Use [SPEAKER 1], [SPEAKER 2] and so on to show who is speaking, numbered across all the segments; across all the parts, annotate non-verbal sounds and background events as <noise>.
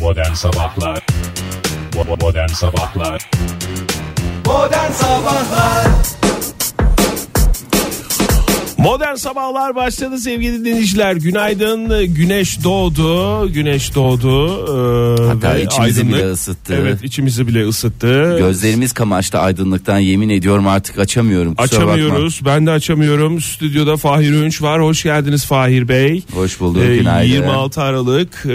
[SPEAKER 1] Modern Sabahlar Bo- Modern Sabahlar
[SPEAKER 2] Modern Sabahlar
[SPEAKER 3] Modern sabahlar başladı sevgili dinleyiciler. Günaydın. Güneş doğdu. Güneş doğdu. Ee,
[SPEAKER 4] Hatta
[SPEAKER 3] ve
[SPEAKER 4] içimizi bile ısıttı.
[SPEAKER 3] Evet içimizi bile ısıttı.
[SPEAKER 4] Gözlerimiz kamaştı aydınlıktan yemin ediyorum artık açamıyorum. Kusura
[SPEAKER 3] Açamıyoruz. Ben de açamıyorum. Stüdyoda Fahir Önç var. Hoş geldiniz Fahir Bey.
[SPEAKER 4] Bakma. Hoş bulduk
[SPEAKER 3] Ee,
[SPEAKER 4] günaydın.
[SPEAKER 3] 26 Aralık e,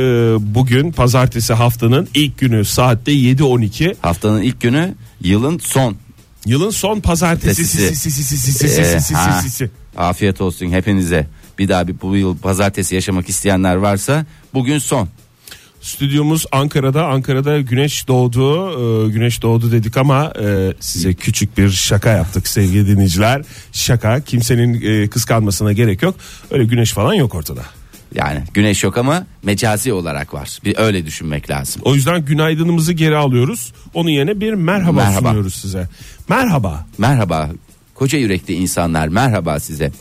[SPEAKER 3] bugün pazartesi haftanın ilk günü saatte 7.12.
[SPEAKER 4] Haftanın ilk günü yılın son.
[SPEAKER 3] Yılın son pazartesi.
[SPEAKER 4] Tesisi.
[SPEAKER 3] Si, si, si, si, si, si,
[SPEAKER 4] Ee,
[SPEAKER 3] si, si,
[SPEAKER 4] ha.
[SPEAKER 3] si, si.
[SPEAKER 4] Afiyet olsun hepinize. Bir daha bir bu yıl pazartesi yaşamak isteyenler varsa bugün son.
[SPEAKER 3] Stüdyomuz Ankara'da. Ankara'da güneş doğdu. Ee, güneş doğdu dedik ama e, size küçük bir şaka yaptık sevgili dinleyiciler. Şaka. Kimsenin e, kıskanmasına gerek yok. Öyle güneş falan yok ortada.
[SPEAKER 4] Yani güneş yok ama mecazi olarak var. Bir öyle düşünmek lazım.
[SPEAKER 3] O yüzden günaydınımızı geri alıyoruz. Onun yerine bir merhaba,
[SPEAKER 4] Merhaba.
[SPEAKER 3] sunuyoruz size. Merhaba.
[SPEAKER 4] Merhaba koca yürekli insanlar merhaba size.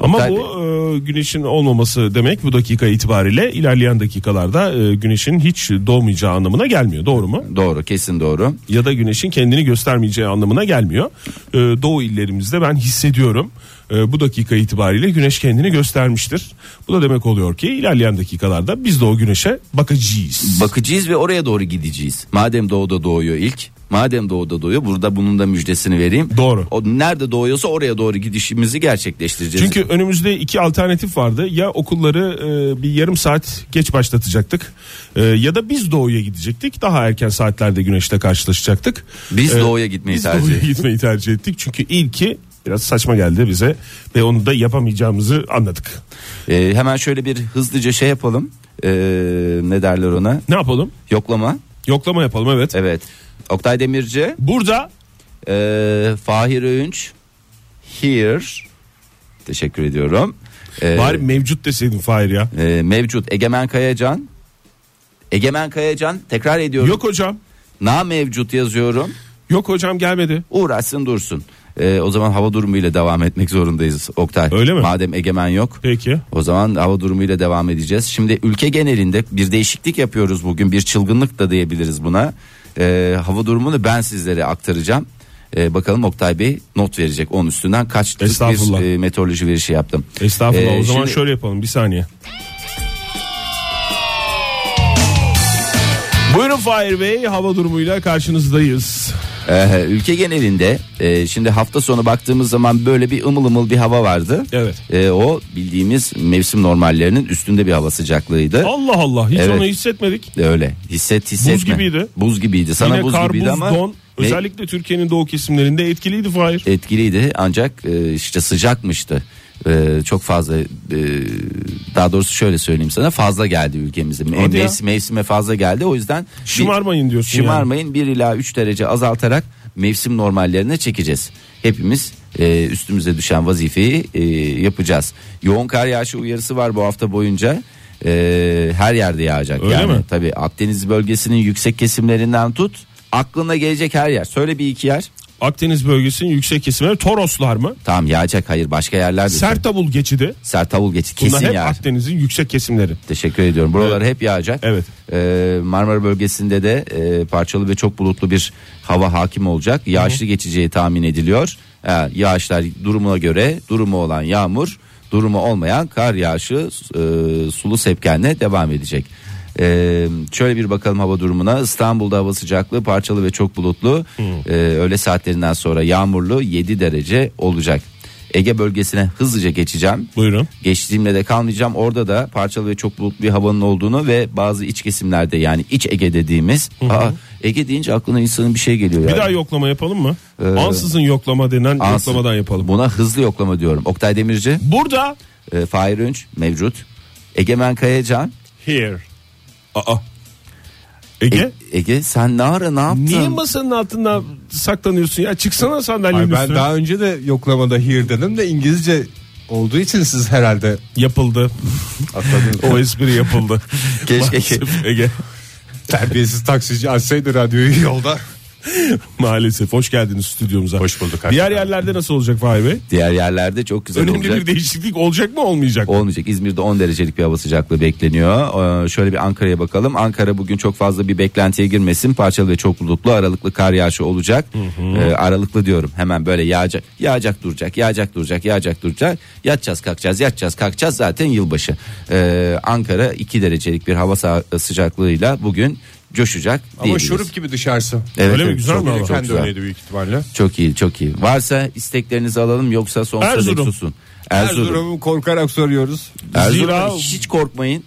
[SPEAKER 3] Ama
[SPEAKER 4] Oktay Bey,
[SPEAKER 3] bu e, güneşin olmaması demek bu dakika itibariyle ilerleyen dakikalarda e, güneşin hiç doğmayacağı anlamına gelmiyor. Doğru mu?
[SPEAKER 4] doğru kesin doğru.
[SPEAKER 3] ya da güneşin kendini göstermeyeceği anlamına gelmiyor. Ee, doğu illerimizde ben hissediyorum. Ee, bu dakika itibariyle güneş kendini göstermiştir. Bu da demek oluyor ki ilerleyen dakikalarda biz de o güneşe bakacağız.
[SPEAKER 4] bakacağız ve oraya doğru gideceğiz. Madem doğuda doğuyor ilk. Madem doğuda doğuyor burada bunun da müjdesini vereyim.
[SPEAKER 3] Doğru.
[SPEAKER 4] O nerede doğuyorsa oraya doğru gidişimizi gerçekleştireceğiz.
[SPEAKER 3] Çünkü önümüzde iki alternatif vardı. Ya okulları e, bir yarım saat geç başlatacaktık. E, ya da biz doğuya gidecektik. Daha erken saatlerde güneşle karşılaşacaktık.
[SPEAKER 4] biz
[SPEAKER 3] E,
[SPEAKER 4] doğuya gitmeyi
[SPEAKER 3] Biz
[SPEAKER 4] tercih
[SPEAKER 3] doğuya
[SPEAKER 4] ediyoruz.
[SPEAKER 3] gitmeyi tercih ettik. Çünkü ilki biraz saçma geldi bize ve onu da yapamayacağımızı anladık.
[SPEAKER 4] E, hemen şöyle bir hızlıca şey yapalım. E, ne derler ona?
[SPEAKER 3] Ne yapalım?
[SPEAKER 4] Yoklama.
[SPEAKER 3] Yoklama yapalım evet.
[SPEAKER 4] Evet. Oktay Demirci,
[SPEAKER 3] Burada
[SPEAKER 4] e, Fahir Öğünç, Here. Teşekkür ediyorum. E,
[SPEAKER 3] bari mevcut deseydin Fahir ya.
[SPEAKER 4] e, mevcut Egemen Kayacan. Egemen Kayacan tekrar ediyorum.
[SPEAKER 3] Yok hocam.
[SPEAKER 4] Na mevcut yazıyorum.
[SPEAKER 3] Yok hocam gelmedi.
[SPEAKER 4] uğraşsın dursun. Ee, o zaman hava durumuyla devam etmek zorundayız Oktay.
[SPEAKER 3] Öyle mi?
[SPEAKER 4] Madem egemen yok.
[SPEAKER 3] Peki.
[SPEAKER 4] O zaman hava durumuyla devam edeceğiz. Şimdi ülke genelinde bir değişiklik yapıyoruz bugün. Bir çılgınlık da diyebiliriz buna. Ee, hava durumunu ben sizlere aktaracağım. Ee, bakalım Oktay Bey not verecek. Onun üstünden kaç
[SPEAKER 3] Estağfurullah.
[SPEAKER 4] bir e, meteoroloji verişi yaptım.
[SPEAKER 3] Estağfurullah
[SPEAKER 4] Ee,
[SPEAKER 3] o zaman
[SPEAKER 4] şimdi-
[SPEAKER 3] şöyle yapalım bir saniye. Buyurun Fahir Bey hava durumuyla karşınızdayız.
[SPEAKER 4] Ee, ülke genelinde e, şimdi hafta sonu baktığımız zaman böyle bir ımıl ımıl bir hava vardı.
[SPEAKER 3] Evet.
[SPEAKER 4] Ee, o bildiğimiz mevsim normallerinin üstünde bir hava sıcaklığıydı.
[SPEAKER 3] Allah Allah hiç
[SPEAKER 4] Evet.
[SPEAKER 3] onu hissetmedik.
[SPEAKER 4] Öyle hisset hissetme.
[SPEAKER 3] Buz gibiydi.
[SPEAKER 4] Buz gibiydi. Sana
[SPEAKER 3] Yine
[SPEAKER 4] buz
[SPEAKER 3] kar,
[SPEAKER 4] gibiydi
[SPEAKER 3] buz,
[SPEAKER 4] ama
[SPEAKER 3] don
[SPEAKER 4] ne- E-
[SPEAKER 3] özellikle Türkiye'nin doğu kesimlerinde etkiliydi Fahir.
[SPEAKER 4] etkiliydi ancak e, işte sıcakmıştı. E, çok fazla e, daha doğrusu şöyle söyleyeyim sana fazla geldi ülkemize. Me-
[SPEAKER 3] Hadi ya.
[SPEAKER 4] mevsim- mevsime fazla geldi. O yüzden bir-
[SPEAKER 3] Şımarmayın diyorsun yani.
[SPEAKER 4] Şımarmayın 1 ila 3 derece azaltarak mevsim normallerine çekeceğiz. Hepimiz e, üstümüze düşen vazifeyi e, yapacağız. Yoğun kar yağışı uyarısı var bu hafta boyunca. E, her yerde yağacak
[SPEAKER 3] Öyle
[SPEAKER 4] yani.
[SPEAKER 3] mi?
[SPEAKER 4] Tabii Akdeniz bölgesinin yüksek kesimlerinden tut aklına gelecek her yer. Söyle bir iki yer.
[SPEAKER 3] Akdeniz bölgesinin yüksek kesimleri Toroslar mı?
[SPEAKER 4] Tamam yağacak hayır başka yerlerde. Sert
[SPEAKER 3] Sertabul geçidi.
[SPEAKER 4] Sertavul geçti
[SPEAKER 3] Bunlar
[SPEAKER 4] kesin
[SPEAKER 3] hep
[SPEAKER 4] yağar.
[SPEAKER 3] Akdeniz'in yüksek kesimleri.
[SPEAKER 4] Teşekkür ediyorum. Buralar hep yağacak.
[SPEAKER 3] Evet.
[SPEAKER 4] Ee, Marmara bölgesinde de e, parçalı ve çok bulutlu bir hava hakim olacak. Yağışlı geçeceği tahmin ediliyor. Ha, yağışlar durumuna göre durumu olan yağmur, durumu olmayan kar yağışı e, sulu sepkenle devam edecek. Ee, şöyle bir bakalım hava durumuna. İstanbul'da hava sıcaklığı parçalı ve çok bulutlu. Ee, öğle saatlerinden sonra yağmurlu 7 derece olacak. Ege bölgesine hızlıca geçeceğim.
[SPEAKER 3] Buyurun.
[SPEAKER 4] Geçtiğimde de kalmayacağım. Orada da parçalı ve çok bulutlu bir havanın olduğunu ve bazı iç kesimlerde yani iç Ege dediğimiz. Aa, Ege deyince aklına insanın bir şey geliyor.
[SPEAKER 3] Bir
[SPEAKER 4] yani.
[SPEAKER 3] daha yoklama yapalım mı?
[SPEAKER 4] e,
[SPEAKER 3] Ansızın yoklama denen
[SPEAKER 4] Ansın.
[SPEAKER 3] yoklamadan yapalım.
[SPEAKER 4] Buna hızlı yoklama diyorum. Oktay Demirci,
[SPEAKER 3] Burada
[SPEAKER 4] e, Fahir Önç mevcut. Egemen Kayacan.
[SPEAKER 3] here. Aa. Ege
[SPEAKER 4] E- Ege sen ne ara ne yaptın?
[SPEAKER 3] niye masanın altında saklanıyorsun ya? Çıksana sandalyenin
[SPEAKER 2] Ay ben
[SPEAKER 3] üstüne.
[SPEAKER 2] daha önce de yoklamada here dedim de İngilizce olduğu için siz herhalde
[SPEAKER 4] <laughs>
[SPEAKER 3] Yapıldı.
[SPEAKER 2] atladınız.
[SPEAKER 3] O espri yapıldı.
[SPEAKER 4] Keşke- <laughs>
[SPEAKER 3] Maalesef Ege.
[SPEAKER 2] Terbiyesiz taksici açsaydı radyoyu yolda.
[SPEAKER 3] Maalesef hoş geldiniz stüdyomuza.
[SPEAKER 5] Hoş bulduk hakikaten.
[SPEAKER 3] Diğer yerlerde nasıl olacak Fahri Bey?
[SPEAKER 4] Diğer yerlerde çok güzel
[SPEAKER 3] Önemli
[SPEAKER 4] olacak.
[SPEAKER 3] bir değişiklik olacak mı olmayacak mı?
[SPEAKER 4] Olmayacak. İzmir'de 10 derecelik bir hava sıcaklığı bekleniyor. Ee, şöyle bir Ankara'ya bakalım. Ankara bugün çok fazla bir beklentiye girmesin. Parçalı ve çok bulutlu aralıklı kar yağışı olacak. Ee, aralıklı diyorum. Hemen böyle yağacak. Yağacak duracak. Yağacak duracak. Yağacak duracak. Yatacağız kalkacağız. Yatacağız kalkacağız. Zaten yılbaşı. Ee, Ankara 2 derecelik bir hava sa- sıcaklığıyla bugün coşacak.
[SPEAKER 2] Ama
[SPEAKER 4] diyebiliriz.
[SPEAKER 2] şurup gibi dışarısı.
[SPEAKER 4] Evet,
[SPEAKER 3] Öyle mi?
[SPEAKER 4] evet.
[SPEAKER 3] Güzel
[SPEAKER 4] Çok-
[SPEAKER 3] mi hava?
[SPEAKER 4] çok
[SPEAKER 2] Kendi
[SPEAKER 4] güzel.
[SPEAKER 2] öyleydi büyük ihtimalle.
[SPEAKER 4] Çok iyi çok iyi. Varsa isteklerinizi alalım yoksa sonsuza dek
[SPEAKER 3] Erzurum.
[SPEAKER 4] susun. Erzurum.
[SPEAKER 2] Erzurum'u korkarak soruyoruz.
[SPEAKER 4] Erzurum.
[SPEAKER 3] Zira-
[SPEAKER 4] hiç korkmayın.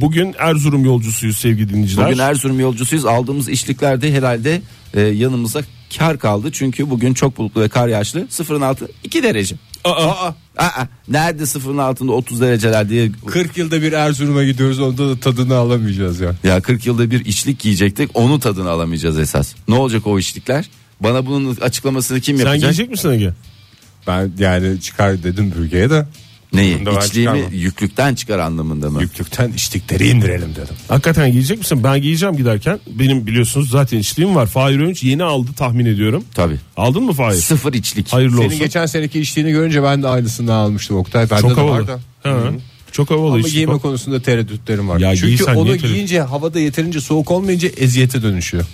[SPEAKER 3] Bugün Erzurum yolcusuyuz sevgili dinleyiciler.
[SPEAKER 4] Bugün Erzurum yolcusuyuz. Aldığımız işliklerde herhalde e, yanımıza kar kaldı. Çünkü bugün çok bulutlu ve kar yağışlı. Sıfırın altı 2 derece.
[SPEAKER 2] Aa,
[SPEAKER 4] Aa, nerede sıfırın altında 30 dereceler diye
[SPEAKER 2] 40 yılda bir Erzurum'a gidiyoruz onda da tadını alamayacağız ya.
[SPEAKER 4] ya 40 yılda bir içlik giyecektik. Onun tadını alamayacağız esas. Ne olacak o içlikler? Bana bunun açıklamasını kim
[SPEAKER 3] Sen
[SPEAKER 4] yapacak?
[SPEAKER 3] gelecek misin Ege?
[SPEAKER 2] Ben yani çıkar dedim bölgeye de
[SPEAKER 4] Neyi?
[SPEAKER 2] Bunu da ben
[SPEAKER 4] İçliğimi
[SPEAKER 2] çıkarmam.
[SPEAKER 4] yüklükten çıkar anlamında mı?
[SPEAKER 2] yüklükten içtikleri indirelim dedim.
[SPEAKER 3] Hakikaten giyecek misin? Ben giyeceğim giderken. Benim biliyorsunuz zaten içliğim var. Fahir Önç yeni aldı tahmin ediyorum.
[SPEAKER 4] Tabii.
[SPEAKER 3] Aldın mı Fahir?
[SPEAKER 4] Sıfır içlik.
[SPEAKER 3] Hayırlı
[SPEAKER 2] Senin
[SPEAKER 3] olsun.
[SPEAKER 2] geçen seneki içtiğini görünce ben de aynısından almıştım Oktay. Bende
[SPEAKER 3] Çok
[SPEAKER 2] de
[SPEAKER 3] havalı.
[SPEAKER 2] vardı.
[SPEAKER 3] Ha, çok havalı
[SPEAKER 2] Ama
[SPEAKER 3] içlik.
[SPEAKER 2] giyme konusunda tereddütlerim var.
[SPEAKER 3] Ya
[SPEAKER 2] Çünkü
[SPEAKER 3] giysen niye
[SPEAKER 2] onu
[SPEAKER 3] tereddüt-
[SPEAKER 2] giyince havada yeterince soğuk olmayınca eziyete dönüşüyor.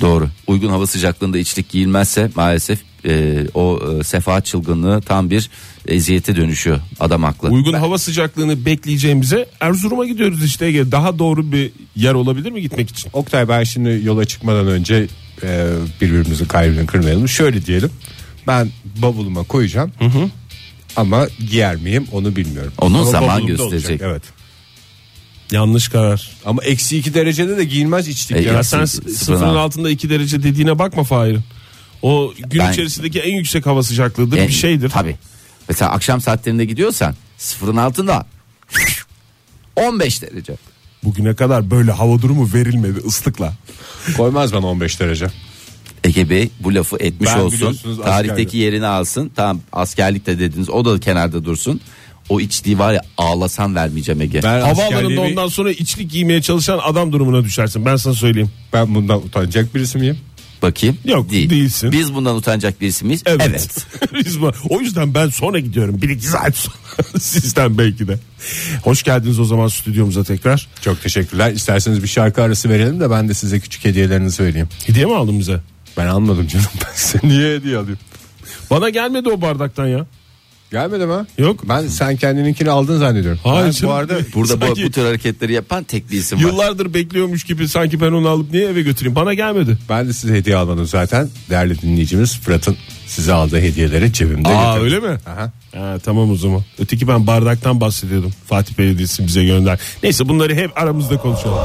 [SPEAKER 4] Doğru. Uygun hava sıcaklığında içlik giyilmezse maalesef e, o e, sefaat çılgınlığı tam bir eziyete dönüşüyor. Adam haklı.
[SPEAKER 3] Uygun hava sıcaklığını bekleyeceğimize Erzurum'a gidiyoruz işte Ege. Daha doğru bir yer olabilir mi gitmek için?
[SPEAKER 2] Oktay ben şimdi yola çıkmadan önce e, birbirimizin kalbini kırmayalım. Şöyle diyelim. Ben bavuluma koyacağım. Ama giyer miyim onu bilmiyorum.
[SPEAKER 4] Onun
[SPEAKER 2] Ama
[SPEAKER 4] zaman
[SPEAKER 2] bavulumda
[SPEAKER 4] gösterecek.
[SPEAKER 2] olacak, Evet.
[SPEAKER 3] Yanlış karar.
[SPEAKER 2] Ama eksi iki derecede de giyilmez içtik
[SPEAKER 4] E,
[SPEAKER 2] ya.
[SPEAKER 3] Ya
[SPEAKER 4] Eksi-
[SPEAKER 3] sen
[SPEAKER 4] sıfırın
[SPEAKER 3] sıfırın
[SPEAKER 4] altı.
[SPEAKER 3] altında 2 derece dediğine bakma Fahir. O gün
[SPEAKER 4] Ben-
[SPEAKER 3] içerisindeki en yüksek hava sıcaklığıdır
[SPEAKER 4] En-
[SPEAKER 3] bir şeydir.
[SPEAKER 4] E, Tabii. Mesela akşam saatlerinde gidiyorsan sıfırın altında <laughs> 15 derece.
[SPEAKER 3] Bugüne kadar böyle hava durumu verilmedi ıslıkla.
[SPEAKER 2] Koymaz bana 15 derece.
[SPEAKER 4] Ege Bey bu lafı etmiş
[SPEAKER 2] Ben
[SPEAKER 4] olsun.
[SPEAKER 2] biliyorsunuz
[SPEAKER 4] Tarihteki
[SPEAKER 2] askerdim.
[SPEAKER 4] yerini alsın. Tamam askerlikte dediniz. O da kenarda dursun. O içtiği var ya ağlasan vermeyeceğim Ege.
[SPEAKER 2] Ben
[SPEAKER 3] Havaalanında
[SPEAKER 2] askerliğimi-
[SPEAKER 3] ondan sonra içlik giymeye çalışan adam durumuna düşersin. Ben sana söyleyeyim.
[SPEAKER 2] Ben bundan utanacak birisi miyim?
[SPEAKER 4] Bakayım.
[SPEAKER 3] Yok, değilsin.
[SPEAKER 4] Biz bundan utanacak birisi miyiz?
[SPEAKER 3] Evet. <laughs> Biz bu- o yüzden ben sonra gidiyorum. Bir iki saat sonra <laughs> sizden belki de. Hoş geldiniz o zaman stüdyomuza tekrar.
[SPEAKER 2] Çok teşekkürler. İsterseniz bir şarkı arası verelim de ben de size küçük hediyelerinizi vereyim.
[SPEAKER 3] Hediye mi aldın bize?
[SPEAKER 2] Ben almadım canım. <laughs> Ben size niye hediye alayım?
[SPEAKER 3] Bana gelmedi o bardaktan ya.
[SPEAKER 2] Gelmedi mi?
[SPEAKER 3] Yok.
[SPEAKER 2] Ben sen kendininkini aldın zannediyorum.
[SPEAKER 3] Hayır
[SPEAKER 2] Ben bu
[SPEAKER 3] canım.
[SPEAKER 2] arada
[SPEAKER 4] Burada bu,
[SPEAKER 3] Sanki-
[SPEAKER 4] bu tür hareketleri yapan tek değilsin. bak.
[SPEAKER 3] Yıllardır bekliyormuş gibi sanki ben onu alıp niye eve götüreyim? Bana gelmedi.
[SPEAKER 2] ben de size hediye almadım zaten. Değerli dinleyicimiz Fırat'ın size aldığı hediyeleri cebimde.
[SPEAKER 3] Aa
[SPEAKER 2] getirdim.
[SPEAKER 3] öyle mi?
[SPEAKER 2] Aha.
[SPEAKER 3] Ha, tamam o zaman. Öteki ben bardaktan bahsediyordum. Fatih Belediyesi bize gönder. Neyse bunları hep aramızda konuşalım.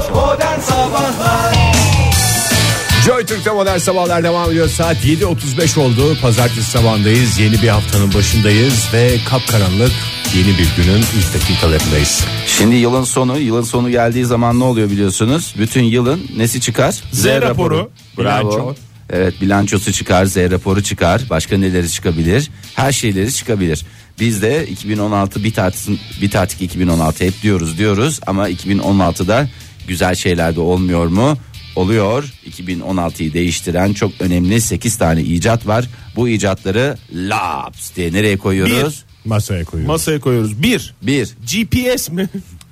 [SPEAKER 2] Joy Türk'te modern sabahlar devam ediyor. Saat 7.35 oldu. Pazartesi sabahındayız. Yeni bir haftanın başındayız ve kapkaranlık yeni bir günün ilk dakikalarındayız.
[SPEAKER 4] Şimdi yılın sonu, yılın sonu geldiği zaman ne oluyor biliyorsunuz? Bütün yılın nesi çıkar? Z,
[SPEAKER 3] raporu.
[SPEAKER 4] Bravo.
[SPEAKER 3] Bilanço.
[SPEAKER 4] Evet bilançosu çıkar, Z raporu çıkar. Başka neleri çıkabilir? Her şeyleri çıkabilir. Biz de 2016 bir tatil, bir tatil 2016 hep diyoruz diyoruz ama 2016'da güzel şeyler de olmuyor mu? Oluyor. 2016'yı değiştiren çok önemli 8 tane icat var. Bu icatları laps diye nereye koyuyoruz?
[SPEAKER 2] Masaya koyuyorum.
[SPEAKER 3] Masaya koyuyoruz. Bir.
[SPEAKER 4] Bir.
[SPEAKER 3] GPS mi?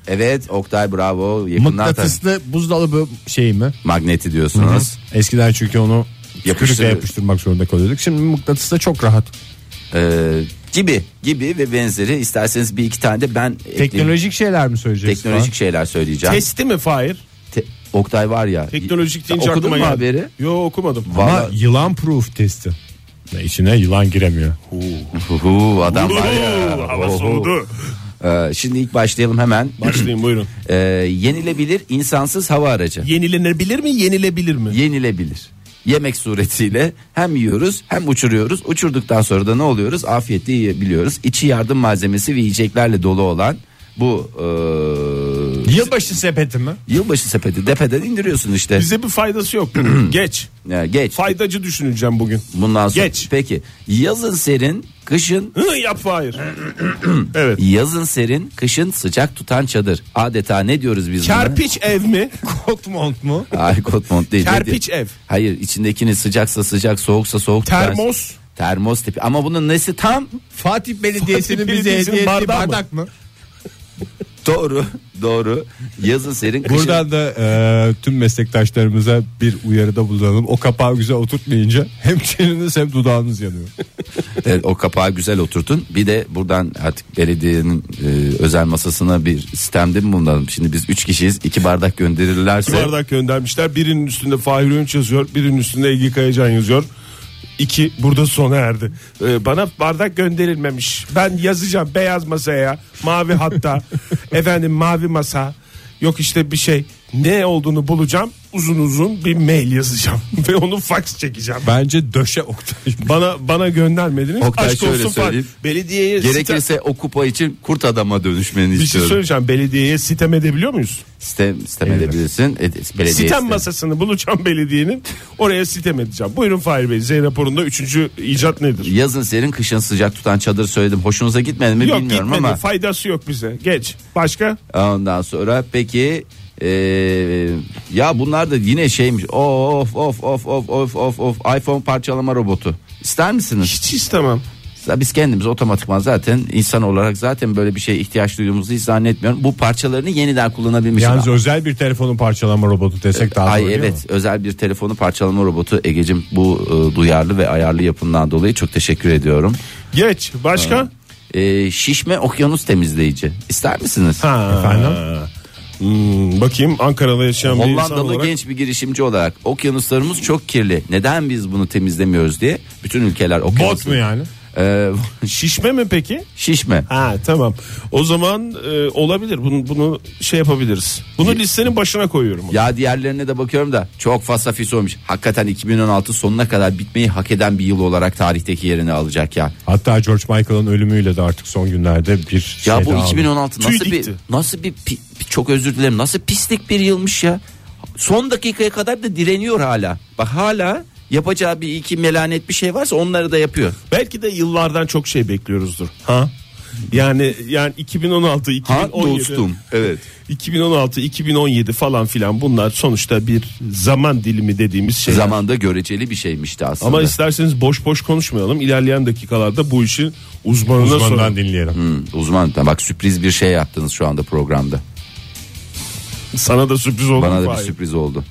[SPEAKER 4] Evet Oktay bravo. Yakından tan-
[SPEAKER 2] Mıknatıslı buzdolabı şeyi mi?
[SPEAKER 4] magneti diyorsunuz.
[SPEAKER 2] Eskiden çünkü onu
[SPEAKER 4] Yapıştır-
[SPEAKER 2] yapıştırıp yapıştırmak zorunda kalıyorduk. Şimdi mıknatıs da çok rahat.
[SPEAKER 4] Ee, gibi gibi ve benzeri isterseniz bir iki tane de ben ekleyeyim.
[SPEAKER 2] Teknolojik şeyler mi söyleyeceksin?
[SPEAKER 4] teknolojik şeyler söyleyeceğim.
[SPEAKER 3] Testi mi Fahir?
[SPEAKER 4] Te- Oktay var ya.
[SPEAKER 3] Teknolojik deyince
[SPEAKER 4] Okudun
[SPEAKER 3] aklıma
[SPEAKER 4] mu
[SPEAKER 3] geldi.
[SPEAKER 4] haberi?
[SPEAKER 3] Yo okumadım.
[SPEAKER 2] Ama
[SPEAKER 4] Vallahi-
[SPEAKER 2] yılan proof testi. İçine yılan giremiyor.
[SPEAKER 4] Huhu, adam var ya.
[SPEAKER 3] Oo, Hava
[SPEAKER 4] Oho.
[SPEAKER 3] soğudu.
[SPEAKER 4] Ee, şimdi ilk başlayalım hemen.
[SPEAKER 3] Başlayın buyurun.
[SPEAKER 4] Ee, yenilebilir insansız hava aracı.
[SPEAKER 3] Yenilenebilir mi yenilebilir mi?
[SPEAKER 4] Yenilebilir. Yemek suretiyle hem yiyoruz hem uçuruyoruz. Uçurduktan sonra da ne oluyoruz? Afiyetle yiyebiliyoruz. İçi yardım malzemesi ve yiyeceklerle dolu olan bu ee,
[SPEAKER 2] Yılbaşı sepeti mi?
[SPEAKER 4] Yılbaşı sepeti depeden indiriyorsun işte.
[SPEAKER 3] Bize bir
[SPEAKER 4] <clears throat>
[SPEAKER 3] faydası yok. bugün. Geç.
[SPEAKER 4] Ya geç.
[SPEAKER 3] Faydacı
[SPEAKER 4] <clears throat>
[SPEAKER 3] düşüneceğim bugün.
[SPEAKER 4] Bundan sonra.
[SPEAKER 3] Geç.
[SPEAKER 4] Peki. Yazın serin, kışın
[SPEAKER 3] Hı, yap
[SPEAKER 4] <clears throat>
[SPEAKER 3] hayır. evet.
[SPEAKER 4] yazın serin, kışın sıcak tutan çadır. Adeta ne diyoruz biz buna? <laughs>
[SPEAKER 3] Kerpiç ev mi?
[SPEAKER 2] Kot mont mu?
[SPEAKER 4] Hayır kotmont değil.
[SPEAKER 3] Kerpiç
[SPEAKER 4] Ne diyor?
[SPEAKER 3] ev.
[SPEAKER 4] Hayır içindekini sıcaksa sıcak soğuksa soğuk. tutar.
[SPEAKER 3] Termos.
[SPEAKER 4] Termos tipi ama bunun nesi tam?
[SPEAKER 2] Fatih Belediyesi'nin
[SPEAKER 3] Fatih
[SPEAKER 2] bize hediye
[SPEAKER 3] Belediyesi'nin
[SPEAKER 2] ettiği bardak,
[SPEAKER 3] bardağı mı?
[SPEAKER 2] mı?
[SPEAKER 4] Doğru doğru yazın serin kışın.
[SPEAKER 5] Buradan da e, tüm meslektaşlarımıza bir uyarıda bulunalım. O kapağı güzel oturtmayınca hem çeneniz hem dudağınız yanıyor.
[SPEAKER 4] Evet, o kapağı güzel oturtun. Bir de buradan artık belediyenin e, özel masasına bir sistemde mi bulunalım? Şimdi biz 3 kişiyiz. 2 bardak gönderirlerse.
[SPEAKER 3] bardak göndermişler. Birinin üstünde Fahir Önç yazıyor. Birinin üstünde Ege Kayacan yazıyor. İki burada sona erdi. Ee, bana bardak gönderilmemiş. Ben yazacağım beyaz masaya,
[SPEAKER 4] <laughs>
[SPEAKER 3] mavi hatta, efendim mavi masa. Yok işte bir şey ne olduğunu bulacağım. Uzun uzun bir mail yazacağım <laughs> ve onu fax çekeceğim.
[SPEAKER 5] Bence döşe Oktay.
[SPEAKER 3] Bana bana göndermediniz.
[SPEAKER 4] Oktay
[SPEAKER 3] Aşk
[SPEAKER 4] şöyle
[SPEAKER 3] olsun Fahir.
[SPEAKER 4] söyleyeyim.
[SPEAKER 3] Belediyeye sitem-
[SPEAKER 4] Gerekirse o kupa için kurt adama dönüşmeni
[SPEAKER 3] bir şey
[SPEAKER 4] istiyorum.
[SPEAKER 3] söyleyeceğim. Belediyeye sitem edebiliyor muyuz?
[SPEAKER 4] Sistem, sistem edebilirsin. E, belediye
[SPEAKER 3] Sitem
[SPEAKER 4] sistemi.
[SPEAKER 3] masasını bulacağım belediyenin. Oraya sitem edeceğim. Buyurun Fahir Bey. Z raporunda üçüncü icat nedir?
[SPEAKER 4] Yazın serin kışın sıcak tutan çadır söyledim. Hoşunuza gitmedi mi
[SPEAKER 3] Yok
[SPEAKER 4] bilmiyorum
[SPEAKER 3] gitmedi.
[SPEAKER 4] ama.
[SPEAKER 3] Faydası yok bize. Geç. Başka?
[SPEAKER 4] Ondan sonra peki e, ya bunlar da yine şeymiş. Of of of of of of of iPhone parçalama robotu. İster misiniz?
[SPEAKER 3] Hiç istemem.
[SPEAKER 4] Ya Biz kendimiz otomatikman zaten insan olarak zaten böyle bir şeye ihtiyaç duyduğumuzu hiç zannetmiyorum. Bu parçalarını yeniden kullanabilmişim.
[SPEAKER 5] Yalnız özel bir telefonun parçalama robotu desek daha doğru
[SPEAKER 4] Ay
[SPEAKER 5] değil
[SPEAKER 4] evet
[SPEAKER 5] mi?
[SPEAKER 4] özel bir telefonu parçalama robotu Egecim bu e, duyarlı ve ayarlı yapımından dolayı çok teşekkür ediyorum.
[SPEAKER 3] Geç. Başka? Ha.
[SPEAKER 4] E, şişme okyanus temizleyici ister misiniz?
[SPEAKER 5] Efendim?
[SPEAKER 3] Hmm, bakayım Ankara'da yaşayan bir insan
[SPEAKER 4] Hollandalı
[SPEAKER 3] olarak.
[SPEAKER 4] genç bir girişimci olarak okyanuslarımız çok kirli. Neden biz bunu temizlemiyoruz diye bütün ülkeler okyanus.
[SPEAKER 5] Bot mu yani?
[SPEAKER 4] E, <laughs>
[SPEAKER 3] Şişme mi peki?
[SPEAKER 4] şişme.
[SPEAKER 3] Ha tamam. O zaman e, olabilir. Bunu, bunu şey yapabiliriz. Bunu listenin başına koyuyorum.
[SPEAKER 4] Ya diğerlerine de bakıyorum da çok fazla fis olmuş. Hakikaten 2016 sonuna kadar bitmeyi hak eden bir yıl olarak tarihteki yerini alacak ya.
[SPEAKER 5] Hatta George Michael'ın ölümüyle de artık son günlerde bir
[SPEAKER 4] Ya
[SPEAKER 5] şey
[SPEAKER 4] bu
[SPEAKER 5] daha oldu.
[SPEAKER 4] 2016 nasıl
[SPEAKER 3] Tüy
[SPEAKER 4] bir
[SPEAKER 3] dikti.
[SPEAKER 4] nasıl bir pi- çok özür dilerim nasıl pislik bir yılmış ya. Son dakikaya kadar da direniyor hala. Bak hala yapacağı bir iki melanet bir şey varsa onları da yapıyor.
[SPEAKER 3] Belki de yıllardan çok şey bekliyoruzdur. Ha? Yani yani 2016
[SPEAKER 4] Ha
[SPEAKER 3] 2017
[SPEAKER 4] dostum. Evet.
[SPEAKER 3] 2016 2017 falan filan bunlar sonuçta bir zaman dilimi dediğimiz
[SPEAKER 4] <laughs>
[SPEAKER 3] şey.
[SPEAKER 4] Zamanda göreceli bir şeymişti aslında.
[SPEAKER 3] Ama isterseniz boş boş konuşmayalım. İlerleyen dakikalarda bu işin uzmanına
[SPEAKER 5] Uzmandan
[SPEAKER 3] soralım.
[SPEAKER 5] dinleyelim.
[SPEAKER 4] Hmm, uzman bak sürpriz bir şey yaptınız şu anda programda.
[SPEAKER 3] Sana da sürpriz oldu.
[SPEAKER 4] Bana da bir
[SPEAKER 3] Fahir.
[SPEAKER 4] sürpriz oldu.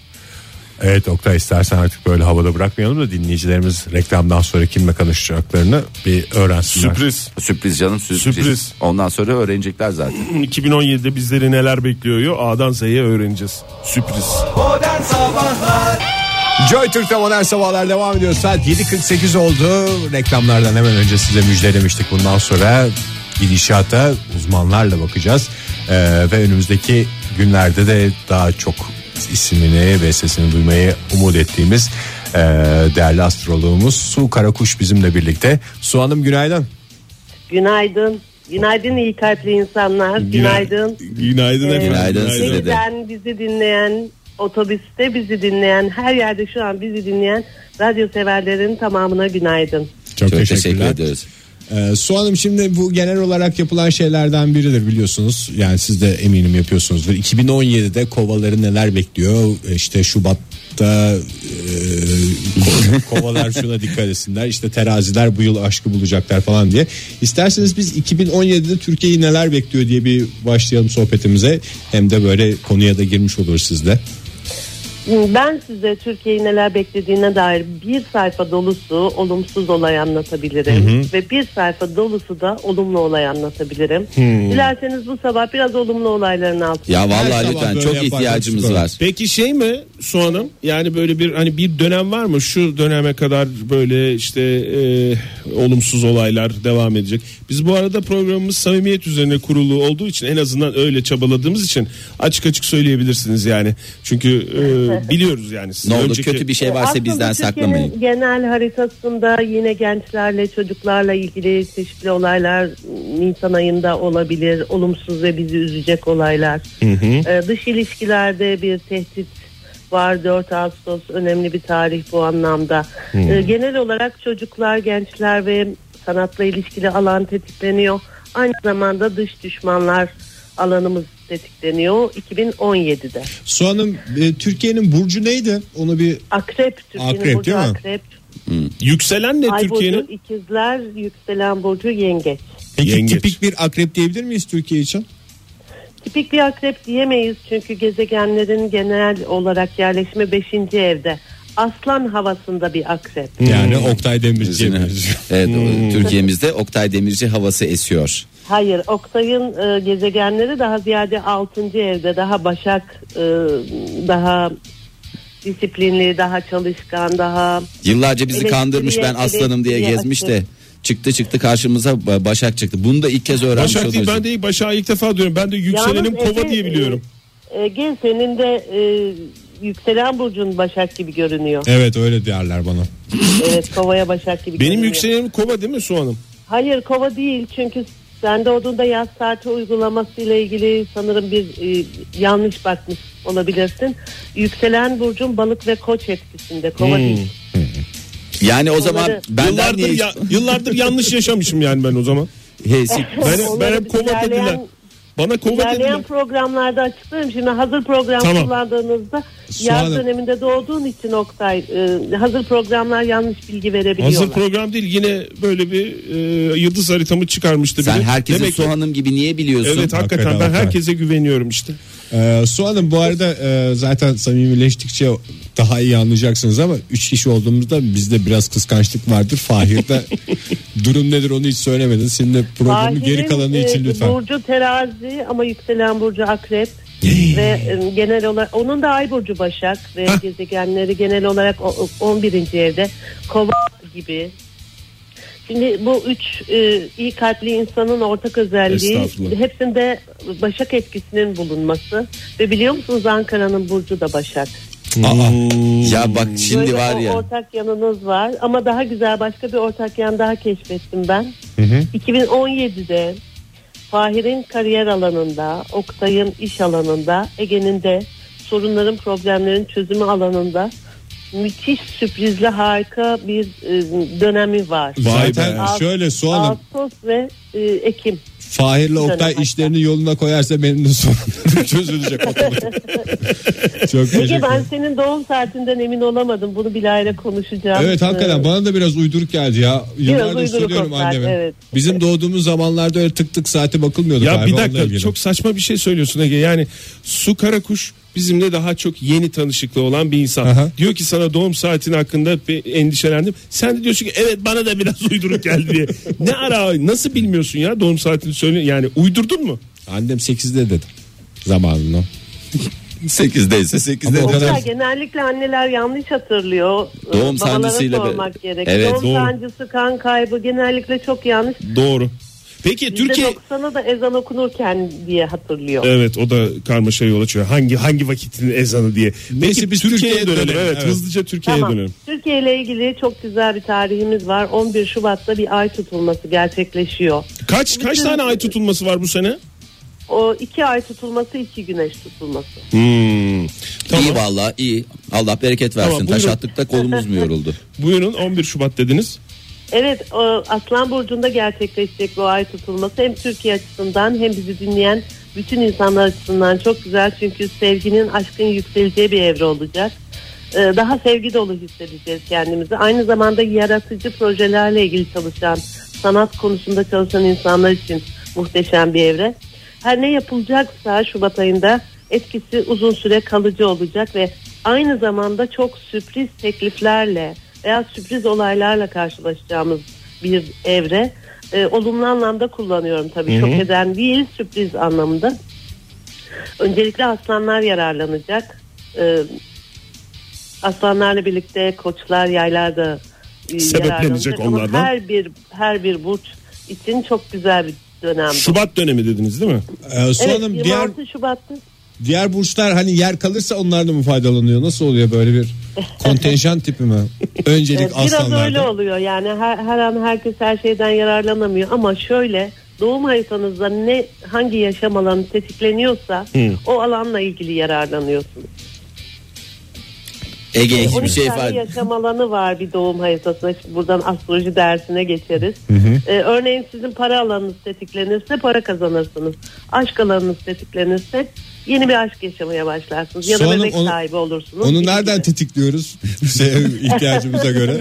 [SPEAKER 5] Evet Oktay istersen artık böyle havada bırakmayalım da dinleyicilerimiz reklamdan sonra kimle konuşacaklarını bir öğrensinler.
[SPEAKER 3] Sürpriz.
[SPEAKER 4] Sürpriz canım sürpriz.
[SPEAKER 3] Sürpriz.
[SPEAKER 4] Ondan sonra öğrenecekler zaten.
[SPEAKER 3] 2017'de bizleri neler bekliyor? A'dan Z'ye öğreneceğiz. Sürpriz.
[SPEAKER 2] Joy Türk'te modern sabahlar devam ediyor. Saat 7.48 oldu. Reklamlardan hemen önce size müjdelemiştik. Bundan sonra gidişata uzmanlarla bakacağız. Ee, ve önümüzdeki günlerde de daha çok ismini ve sesini duymayı umut ettiğimiz e, değerli astroloğumuz Su Karakuş bizimle birlikte. Su Hanım günaydın.
[SPEAKER 6] Günaydın. Günaydın iyi kalpli insanlar. Günaydın.
[SPEAKER 3] Günaydın efendim.
[SPEAKER 4] Günaydın size de.
[SPEAKER 6] Sizden bizi dinleyen, otobüste bizi dinleyen, her yerde şu an bizi dinleyen radyo severlerin tamamına günaydın.
[SPEAKER 5] Çok,
[SPEAKER 4] Çok teşekkür
[SPEAKER 5] teşekkürler.
[SPEAKER 4] ediyoruz.
[SPEAKER 5] Ee, Su Hanım şimdi bu genel olarak yapılan şeylerden biridir biliyorsunuz. Yani siz de eminim yapıyorsunuzdur. 2017'de kovaları neler bekliyor? İşte Şubat'ta e, ko- kovalar şuna dikkat etsinler. İşte teraziler bu yıl aşkı bulacaklar falan diye. İsterseniz biz 2017'de Türkiye'yi neler bekliyor diye bir başlayalım sohbetimize. Hem de böyle konuya da girmiş olur sizde.
[SPEAKER 6] Ben size Türkiye'yi neler beklediğine dair bir sayfa dolusu olumsuz olay anlatabilirim. Ve bir sayfa dolusu da olumlu olay anlatabilirim. Dilerseniz bu sabah biraz olumlu olayların altına.
[SPEAKER 4] Hmm. Ya
[SPEAKER 5] Her
[SPEAKER 4] vallahi
[SPEAKER 5] sabah
[SPEAKER 4] lütfen
[SPEAKER 5] böyle
[SPEAKER 4] çok
[SPEAKER 5] yaparken
[SPEAKER 4] ihtiyacımız
[SPEAKER 5] süper.
[SPEAKER 4] var.
[SPEAKER 3] Peki şey mi Su Hanım? Yani böyle bir hani bir dönem var mı? Şu döneme kadar böyle işte e, olumsuz olaylar devam edecek. Biz bu arada programımız samimiyet üzerine kurulu olduğu için en azından öyle çabaladığımız için açık açık söyleyebilirsiniz yani. Çünkü e,
[SPEAKER 6] <laughs>
[SPEAKER 3] biliyoruz yani. Sizin
[SPEAKER 4] Ne olur
[SPEAKER 3] önceki-
[SPEAKER 4] kötü bir şey varsa
[SPEAKER 6] Aslında
[SPEAKER 4] bizden
[SPEAKER 6] Türkiye'nin
[SPEAKER 4] saklamayın.
[SPEAKER 6] Genel haritasında yine gençlerle çocuklarla ilgili çeşitli olaylar Nisan ayında olabilir. Olumsuz ve bizi üzecek olaylar. Ee, dış ilişkilerde bir tehdit var 4 Ağustos önemli bir tarih bu anlamda. Ee, genel olarak çocuklar, gençler ve sanatla ilişkili alan tetikleniyor. Aynı zamanda dış düşmanlar alanımız tetikleniyor 2017'de.
[SPEAKER 5] Soğan'ın e, Türkiye'nin burcu neydi? Onu bir
[SPEAKER 6] Akrep Türkiye'nin
[SPEAKER 5] Akrep,
[SPEAKER 6] burcu
[SPEAKER 5] değil mi?
[SPEAKER 6] akrep.
[SPEAKER 3] Yükselen ne
[SPEAKER 6] Ay
[SPEAKER 3] Türkiye'nin?
[SPEAKER 6] burcu ikizler, yükselen burcu yengeç.
[SPEAKER 5] peki
[SPEAKER 3] Yengeç.
[SPEAKER 5] tipik bir akrep diyebilir miyiz Türkiye için?
[SPEAKER 6] Tipik bir akrep diyemeyiz çünkü gezegenlerin genel olarak yerleşimi 5. evde. Aslan havasında bir akrep.
[SPEAKER 5] Yani Oktay Demirci'ye
[SPEAKER 4] Üzerine-
[SPEAKER 5] benziyor.
[SPEAKER 4] Evet,
[SPEAKER 3] Hmm.
[SPEAKER 4] o- Türkiye'mizde Oktay Demirci havası esiyor.
[SPEAKER 6] Hayır, Oktay'ın e, gezegenleri daha ziyade 6. evde. Daha başak, e, daha disiplinli, daha çalışkan, daha
[SPEAKER 4] Yıllarca bizi
[SPEAKER 6] Elektriğe,
[SPEAKER 4] kandırmış ben aslanım diye
[SPEAKER 6] elektriğe
[SPEAKER 4] gezmiş
[SPEAKER 6] açık.
[SPEAKER 4] de çıktı çıktı karşımıza ba- Başak çıktı. Bunu da ilk kez öğrenmiş
[SPEAKER 3] Başak değil
[SPEAKER 4] oluyorsun.
[SPEAKER 3] ben de ilk Başak'ı ilk defa diyorum. Ben de yükselenim
[SPEAKER 6] Yalnız
[SPEAKER 3] kova
[SPEAKER 6] Ege,
[SPEAKER 3] diye biliyorum.
[SPEAKER 6] E, Ege senin de e, yükselen burcun başak gibi görünüyor.
[SPEAKER 5] Evet öyle diyorlar bana.
[SPEAKER 6] Evet, kovaya başak
[SPEAKER 3] Benim
[SPEAKER 6] gibi görünüyor.
[SPEAKER 3] yükselenim kova değil mi Soğan'ım?
[SPEAKER 6] Hayır kova değil çünkü sende odunda yaz saati uygulaması ile ilgili sanırım bir e, yanlış bakmış olabilirsin. Yükselen burcun balık ve koç etkisinde
[SPEAKER 3] Hmm.
[SPEAKER 6] kova değil.
[SPEAKER 4] Yani o zaman benden
[SPEAKER 3] Yıllardır,
[SPEAKER 4] niye...
[SPEAKER 3] ya- yıllardır yanlış yaşamışım yani ben o zaman.
[SPEAKER 4] He, sik-
[SPEAKER 3] Ben, ben
[SPEAKER 6] Onları
[SPEAKER 3] hep kova
[SPEAKER 6] ilerleyen-
[SPEAKER 3] dediler. Bana kova dediler.
[SPEAKER 6] İlerleyen programlarda açıklarım. Şimdi hazır program
[SPEAKER 3] Tamam.
[SPEAKER 6] kullandığınızda
[SPEAKER 5] Soğanım.
[SPEAKER 6] yaz döneminde doğduğun için Oktay e, hazır programlar yanlış bilgi verebiliyorlar.
[SPEAKER 3] Hazır program değil yine böyle bir e, yıldız haritamı çıkarmıştı.
[SPEAKER 4] sen
[SPEAKER 3] biri.
[SPEAKER 4] herkesi
[SPEAKER 3] Demek ki-
[SPEAKER 4] Soğan'ım gibi niye biliyorsun?
[SPEAKER 3] Evet hakikaten,
[SPEAKER 5] Hakikaten,
[SPEAKER 3] ben
[SPEAKER 5] hakikaten.
[SPEAKER 3] herkese güveniyorum işte.
[SPEAKER 5] Ee, Soğan'ım bu arada e, zaten samimileştikçe daha iyi anlayacaksınız ama 3 kişi olduğumuzda bizde biraz kıskançlık vardır. Fahir'de durum nedir onu hiç söylemedin. Şimdi programın
[SPEAKER 6] Fahir'in,
[SPEAKER 5] geri kalanı
[SPEAKER 6] e,
[SPEAKER 5] için lütfen.
[SPEAKER 6] Burcu terazi ama yükselen burcu akrep. ve e, genel olarak onun da ay burcu başak ve gezegenleri genel olarak o- o- 11. evde kova gibi. Şimdi bu üç e, iyi kalpli insanın ortak özelliği
[SPEAKER 3] Estağfurullah.
[SPEAKER 6] hepsinde başak etkisinin bulunması ve biliyor musunuz Ankara'nın burcu da başak.
[SPEAKER 5] Aa,
[SPEAKER 4] Ya bak şimdi
[SPEAKER 6] Böyle
[SPEAKER 4] var
[SPEAKER 6] o-
[SPEAKER 4] ya.
[SPEAKER 6] Ortak yanınız var ama daha güzel başka bir ortak yan daha keşfettim ben. 2017'de Fahir'in kariyer alanında, Oktay'ın iş alanında, Ege'nin de sorunların, problemlerin çözümü alanında müthiş sürprizli harika bir e, dönemi var.
[SPEAKER 3] Vay
[SPEAKER 5] zaten
[SPEAKER 6] be.
[SPEAKER 5] şöyle Soğan'ım
[SPEAKER 6] Ağustos ve e, Ekim.
[SPEAKER 5] Fahir'le Oktay
[SPEAKER 6] hatta.
[SPEAKER 5] işlerini yoluna koyarsa benim de sorunlarım çözülecek. otomatik. Çok teşekkür
[SPEAKER 6] Ege ben
[SPEAKER 5] ederim.
[SPEAKER 6] senin doğum saatinden emin olamadım. Bunu Bilal'le konuşacağım.
[SPEAKER 5] Evet hakikaten
[SPEAKER 6] Ee,
[SPEAKER 5] bana da biraz uyduruk geldi ya. Yıllardır
[SPEAKER 6] uyduruk
[SPEAKER 5] söylüyorum
[SPEAKER 6] Oktay,
[SPEAKER 5] anneme.
[SPEAKER 6] evet.
[SPEAKER 5] Bizim doğduğumuz zamanlarda öyle tık tık saate bakılmıyordu.
[SPEAKER 3] Ya
[SPEAKER 5] galiba,
[SPEAKER 3] bir
[SPEAKER 5] onunla
[SPEAKER 3] dakika
[SPEAKER 5] ilgili.
[SPEAKER 3] çok saçma bir şey söylüyorsun Ege. Yani Su Karakuş bizimle daha çok yeni tanışıklı olan bir insan.
[SPEAKER 5] Aha.
[SPEAKER 3] Diyor ki sana doğum saatin hakkında bir endişelendim. Sen de diyorsun ki evet bana da biraz <laughs> uyduruk geldi diye. ne ara nasıl bilmiyorsun ya doğum saatini söyle yani uydurdun mu?
[SPEAKER 5] Annem 8'de dedi zamanını.
[SPEAKER 4] 8'de ise 8'de.
[SPEAKER 5] Ama o kadar-
[SPEAKER 6] Ya genellikle anneler yanlış hatırlıyor. Ee,
[SPEAKER 4] Doğum
[SPEAKER 6] Babalara
[SPEAKER 4] sancısıyla be-
[SPEAKER 6] sormak gerek.
[SPEAKER 4] Evet,
[SPEAKER 6] doğum
[SPEAKER 3] doğru.
[SPEAKER 6] sancısı, kan kaybı genellikle çok yanlış.
[SPEAKER 3] Doğru. Peki Türkiye
[SPEAKER 6] Türkiye 90'a da ezan okunurken diye hatırlıyor.
[SPEAKER 3] Evet o da karmaşa yol açıyor. Hangi hangi vakitin ezanı diye. Neyse biz Türkiye'ye, dönelim. Evet, hızlıca Türkiye'ye dönelim.
[SPEAKER 6] Türkiye ile ilgili çok güzel bir tarihimiz var. 11 Şubat'ta bir ay tutulması gerçekleşiyor.
[SPEAKER 3] Kaç kaç tane ay tutulması var bu sene?
[SPEAKER 6] O iki ay tutulması, iki güneş tutulması.
[SPEAKER 4] İyi valla iyi. Allah bereket versin.
[SPEAKER 3] Tamam,
[SPEAKER 4] Taş
[SPEAKER 3] buyurun.
[SPEAKER 4] attık da kolumuz mu yoruldu?
[SPEAKER 3] Buyurun 11 Şubat dediniz.
[SPEAKER 6] Evet, o Aslan Burcu'nda gerçekleşecek bu ay tutulması hem Türkiye açısından hem bizi dinleyen bütün insanlar açısından çok güzel. Çünkü sevginin, aşkın yükseleceği bir evre olacak. Ee, Daha sevgi dolu hissedeceğiz kendimizi. Aynı zamanda yaratıcı projelerle ilgili çalışan, sanat konusunda çalışan insanlar için muhteşem bir evre. Her ne yapılacaksa Şubat ayında etkisi uzun süre kalıcı olacak ve aynı zamanda çok sürpriz tekliflerle veya sürpriz olaylarla karşılaşacağımız bir evre. Ee, olumlu anlamda kullanıyorum tabii. Çok eden değil sürpriz anlamında. Öncelikle aslanlar yararlanacak. Ee, aslanlarla birlikte koçlar, yaylar da e,
[SPEAKER 3] Sebeplenecek
[SPEAKER 6] yararlanacak. Ama
[SPEAKER 3] onlardan.
[SPEAKER 6] her bir her bir burç için çok güzel bir dönem. bu.
[SPEAKER 3] Şubat dönemi dediniz değil mi?
[SPEAKER 5] Ee,
[SPEAKER 6] Evet,
[SPEAKER 5] Soğan'ım
[SPEAKER 6] 26
[SPEAKER 5] diğer
[SPEAKER 6] Şubat'ta
[SPEAKER 5] Diğer burçlar hani yer kalırsa onlar da mı faydalanıyor? Nasıl oluyor böyle bir kontenjan tipi mi? Öncelik
[SPEAKER 6] Evet, <laughs> Biraz öyle
[SPEAKER 5] aslanlarda.
[SPEAKER 6] oluyor yani her, her an herkes her şeyden yararlanamıyor ama şöyle doğum haritanızda ne hangi yaşam alanı tetikleniyorsa o alanla ilgili yararlanıyorsunuz.
[SPEAKER 4] Ege
[SPEAKER 6] 12
[SPEAKER 4] hiçbir şey
[SPEAKER 6] tane
[SPEAKER 4] ifade
[SPEAKER 6] yaşam alanı var bir doğum haritasına. Şimdi buradan astroloji dersine geçeriz. Ee, örneğin sizin para alanınız tetiklenirse para kazanırsınız. Aşk alanınız tetiklenirse yeni bir aşk yaşamaya başlarsınız. Ya
[SPEAKER 5] Su
[SPEAKER 6] da
[SPEAKER 5] Hanım,
[SPEAKER 6] bebek
[SPEAKER 5] onu-
[SPEAKER 6] sahibi olursunuz.
[SPEAKER 5] Onu
[SPEAKER 6] Gibi
[SPEAKER 5] nereden
[SPEAKER 6] gibi.
[SPEAKER 5] <laughs> tetikliyoruz? Bize
[SPEAKER 6] <laughs>
[SPEAKER 5] ihtiyacımıza göre. <laughs>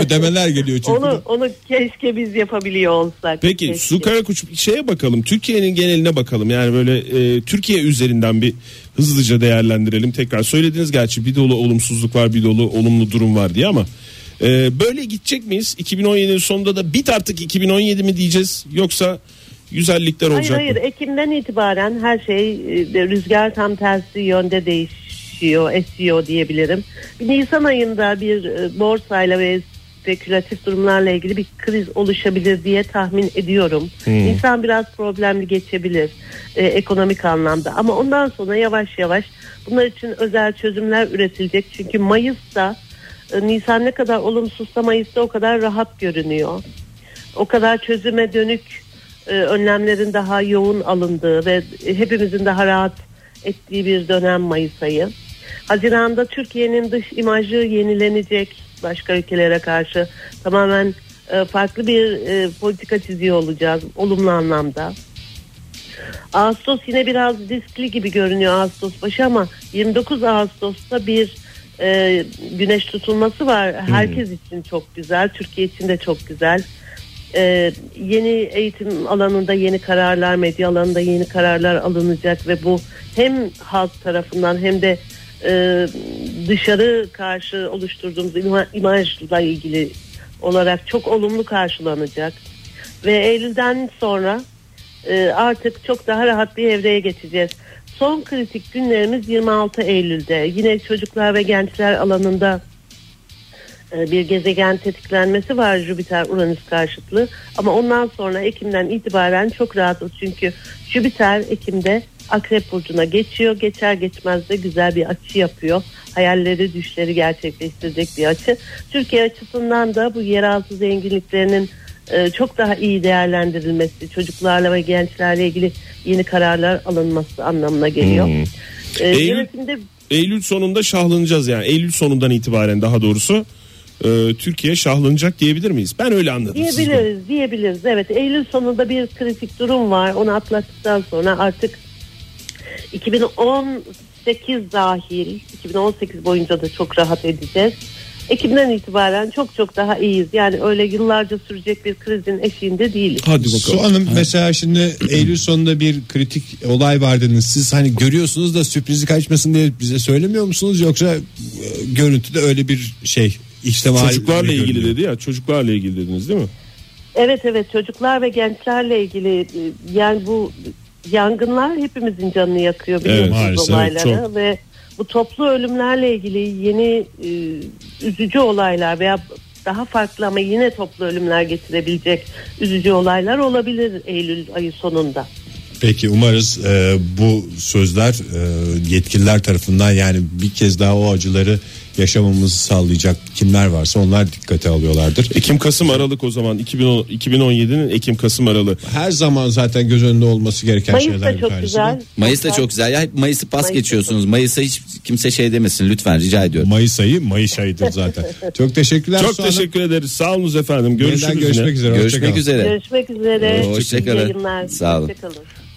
[SPEAKER 5] Ödemeler geliyor çünkü.
[SPEAKER 6] onu, onu keşke biz yapabiliyor olsak.
[SPEAKER 3] Peki
[SPEAKER 6] Keşke.
[SPEAKER 3] Su Karakuç şeye bakalım. Türkiye'nin geneline bakalım. Yani böyle e, Türkiye üzerinden bir hızlıca değerlendirelim. Tekrar söylediniz gerçi bir dolu olumsuzluk var bir dolu olumlu durum var diye ama. e, böyle gidecek miyiz? 2017'nin sonunda da bit artık 2017 mi diyeceğiz? Yoksa güzellikler
[SPEAKER 6] Hayır
[SPEAKER 3] olacak
[SPEAKER 6] hayır
[SPEAKER 3] mı?
[SPEAKER 6] Ekim'den itibaren her şey e, rüzgar tam tersi yönde değişiyor esiyor diyebilirim. Bir Nisan ayında bir e, borsayla ve spekülatif durumlarla ilgili bir kriz oluşabilir diye tahmin ediyorum. Nisan biraz problemli geçebilir e, ekonomik anlamda ama ondan sonra yavaş yavaş bunlar için özel çözümler üretilecek. Çünkü Mayıs'ta e, Nisan ne kadar olumsuzsa Mayıs'ta o kadar rahat görünüyor o kadar çözüme dönük e, önlemlerin daha yoğun alındığı ve hepimizin daha rahat ettiği bir dönem Mayıs ayı. Haziranda Türkiye'nin dış imajı yenilenecek başka ülkelere karşı tamamen e, farklı bir e, politika çiziyor olacağız olumlu anlamda. Ağustos yine biraz riskli gibi görünüyor Ağustos başı ama 29 Ağustos'ta bir e, güneş tutulması var. Herkes için çok güzel, Türkiye için de çok güzel. E, yeni eğitim alanında yeni kararlar, medya alanında yeni kararlar alınacak ve bu hem halk tarafından hem de e, dışarı karşı oluşturduğumuz ima- imajla ilgili olarak çok olumlu karşılanacak. Ve Eylül'den sonra e, artık çok daha rahat bir evreye geçeceğiz. Son kritik günlerimiz 26 Eylül'de. Yine çocuklar ve gençler alanında e, bir gezegen tetiklenmesi var Jüpiter Uranüs karşıtlığı. Ama ondan sonra Ekim'den itibaren çok rahatız. Çünkü Jüpiter Ekim'de Akrep Burcu'na geçiyor. Geçer geçmez de güzel bir açı yapıyor. Hayalleri, düşleri gerçekleştirecek bir açı. Türkiye açısından da bu yeraltı zenginliklerinin e, çok daha iyi değerlendirilmesi, çocuklarla ve gençlerle ilgili yeni kararlar alınması anlamına geliyor. E,
[SPEAKER 3] Eylül-
[SPEAKER 6] yönetimde
[SPEAKER 3] Eylül sonunda şahlanacağız yani. Eylül sonundan itibaren daha doğrusu e, Türkiye şahlanacak diyebilir miyiz? Ben öyle anladım. siz bunu.
[SPEAKER 6] Diyebiliriz, diyebiliriz. Evet, Eylül sonunda bir kritik durum var. Onu atlattıktan sonra artık 2018 dahil, 2018 boyunca da çok rahat edeceğiz. Ekim'den itibaren çok çok daha iyiyiz. Yani öyle yıllarca sürecek bir krizin eşiğinde değiliz.
[SPEAKER 3] Hadi bakalım.
[SPEAKER 5] Su Hanım mesela şimdi Eylül sonunda bir kritik olay var dediniz. Siz hani görüyorsunuz da sürprizi kaçmasın diye bize söylemiyor musunuz? Yoksa e, görüntüde öyle bir şey içtimal
[SPEAKER 3] Çocuklarla
[SPEAKER 5] gibi
[SPEAKER 3] ilgili
[SPEAKER 5] görünüyor.
[SPEAKER 3] dedi ya. Çocuklarla ilgili dediniz değil mi?
[SPEAKER 6] Evet evet çocuklar ve gençlerle ilgili e, yani bu yangınlar hepimizin canını yakıyor biliyorsunuz
[SPEAKER 5] maalesef,
[SPEAKER 6] olayları ve bu toplu ölümlerle ilgili yeni e, üzücü olaylar veya daha farklı ama yine toplu ölümler getirebilecek üzücü olaylar olabilir Eylül ayı sonunda.
[SPEAKER 5] Peki umarız e, bu sözler e, yetkililer tarafından yani bir kez daha o acıları yaşamamızı sağlayacak kimler varsa onlar dikkate alıyorlardır.
[SPEAKER 3] Ekim Kasım Aralık o zaman 2010 2017'nin Ekim Kasım Aralık.
[SPEAKER 5] Her zaman zaten göz önünde olması gereken
[SPEAKER 6] Mayıs
[SPEAKER 5] şeyler
[SPEAKER 6] da
[SPEAKER 5] bir
[SPEAKER 6] çok
[SPEAKER 5] tanesi
[SPEAKER 6] güzel.
[SPEAKER 5] de
[SPEAKER 4] Mayıs da çok güzel. Ya hep Mayıs'ı pas
[SPEAKER 6] Mayıs da
[SPEAKER 4] geçiyorsunuz. Mayıs'a hiç kimse şey demesin lütfen rica ediyorum.
[SPEAKER 5] Mayıs ayı Mayıs
[SPEAKER 6] <laughs>
[SPEAKER 5] ayıdır zaten. çok teşekkürler.
[SPEAKER 3] Çok
[SPEAKER 5] Su Hanım.
[SPEAKER 3] teşekkür ederiz. Sağolunuz efendim. Görüşürüz.
[SPEAKER 5] Yeniden
[SPEAKER 3] yine.
[SPEAKER 5] görüşmek üzere.
[SPEAKER 4] Görüşmek
[SPEAKER 5] Hoşçakalın.
[SPEAKER 4] üzere.
[SPEAKER 6] Görüşmek üzere.
[SPEAKER 4] Hoşça
[SPEAKER 6] Hoşça
[SPEAKER 4] kalın.
[SPEAKER 6] kalın.
[SPEAKER 4] Sağ olun.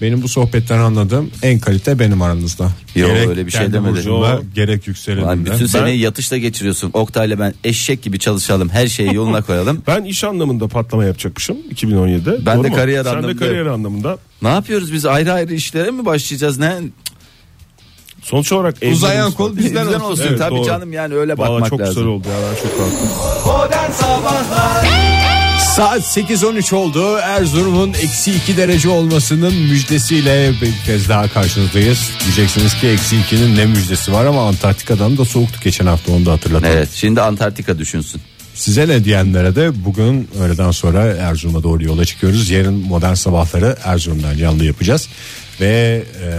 [SPEAKER 2] Benim bu sohbetten anladığım en kalite benim aranızda.
[SPEAKER 4] Yo, öyle bir şey
[SPEAKER 2] kendi
[SPEAKER 4] demedim.
[SPEAKER 2] burcumla,
[SPEAKER 4] Yo.
[SPEAKER 2] Gerek
[SPEAKER 4] Lan
[SPEAKER 2] yükselenimde.
[SPEAKER 4] bütün seneyi yatışla geçiriyorsun. Oktay'la ben eşek gibi çalışalım. Her şeyi yoluna
[SPEAKER 2] <laughs>
[SPEAKER 4] koyalım.
[SPEAKER 3] Ben iş anlamında patlama yapacakmışım 2017'de.
[SPEAKER 4] Ben de
[SPEAKER 3] mu?
[SPEAKER 4] kariyer
[SPEAKER 3] Sen de
[SPEAKER 4] anlamında.
[SPEAKER 3] kariyer anlamında.
[SPEAKER 4] ne yapıyoruz biz ayrı ayrı işlere mi başlayacağız? Ne
[SPEAKER 3] Sonuç olarak
[SPEAKER 2] Uzayan
[SPEAKER 3] evleniriz.
[SPEAKER 2] kol bizden olsun.
[SPEAKER 3] Evet,
[SPEAKER 4] tabii
[SPEAKER 3] doğru.
[SPEAKER 4] canım yani öyle
[SPEAKER 3] Vallahi
[SPEAKER 4] bakmak
[SPEAKER 3] çok güzel
[SPEAKER 4] lazım.
[SPEAKER 3] oldu ya ben çok rahatım.
[SPEAKER 2] Saat 8.13 oldu. Erzurum'un eksi 2 derece olmasının müjdesiyle bir kez daha karşınızdayız. Diyeceksiniz ki eksi 2'nin ne müjdesi var ama Antarktika'dan da soğuktu geçen hafta onu da hatırlatalım.
[SPEAKER 4] Evet şimdi Antarktika düşünsün.
[SPEAKER 2] Size ne diyenlere de bugün öğleden sonra Erzurum'a doğru yola çıkıyoruz. Yarın modern sabahları Erzurum'dan canlı yapacağız. ve e,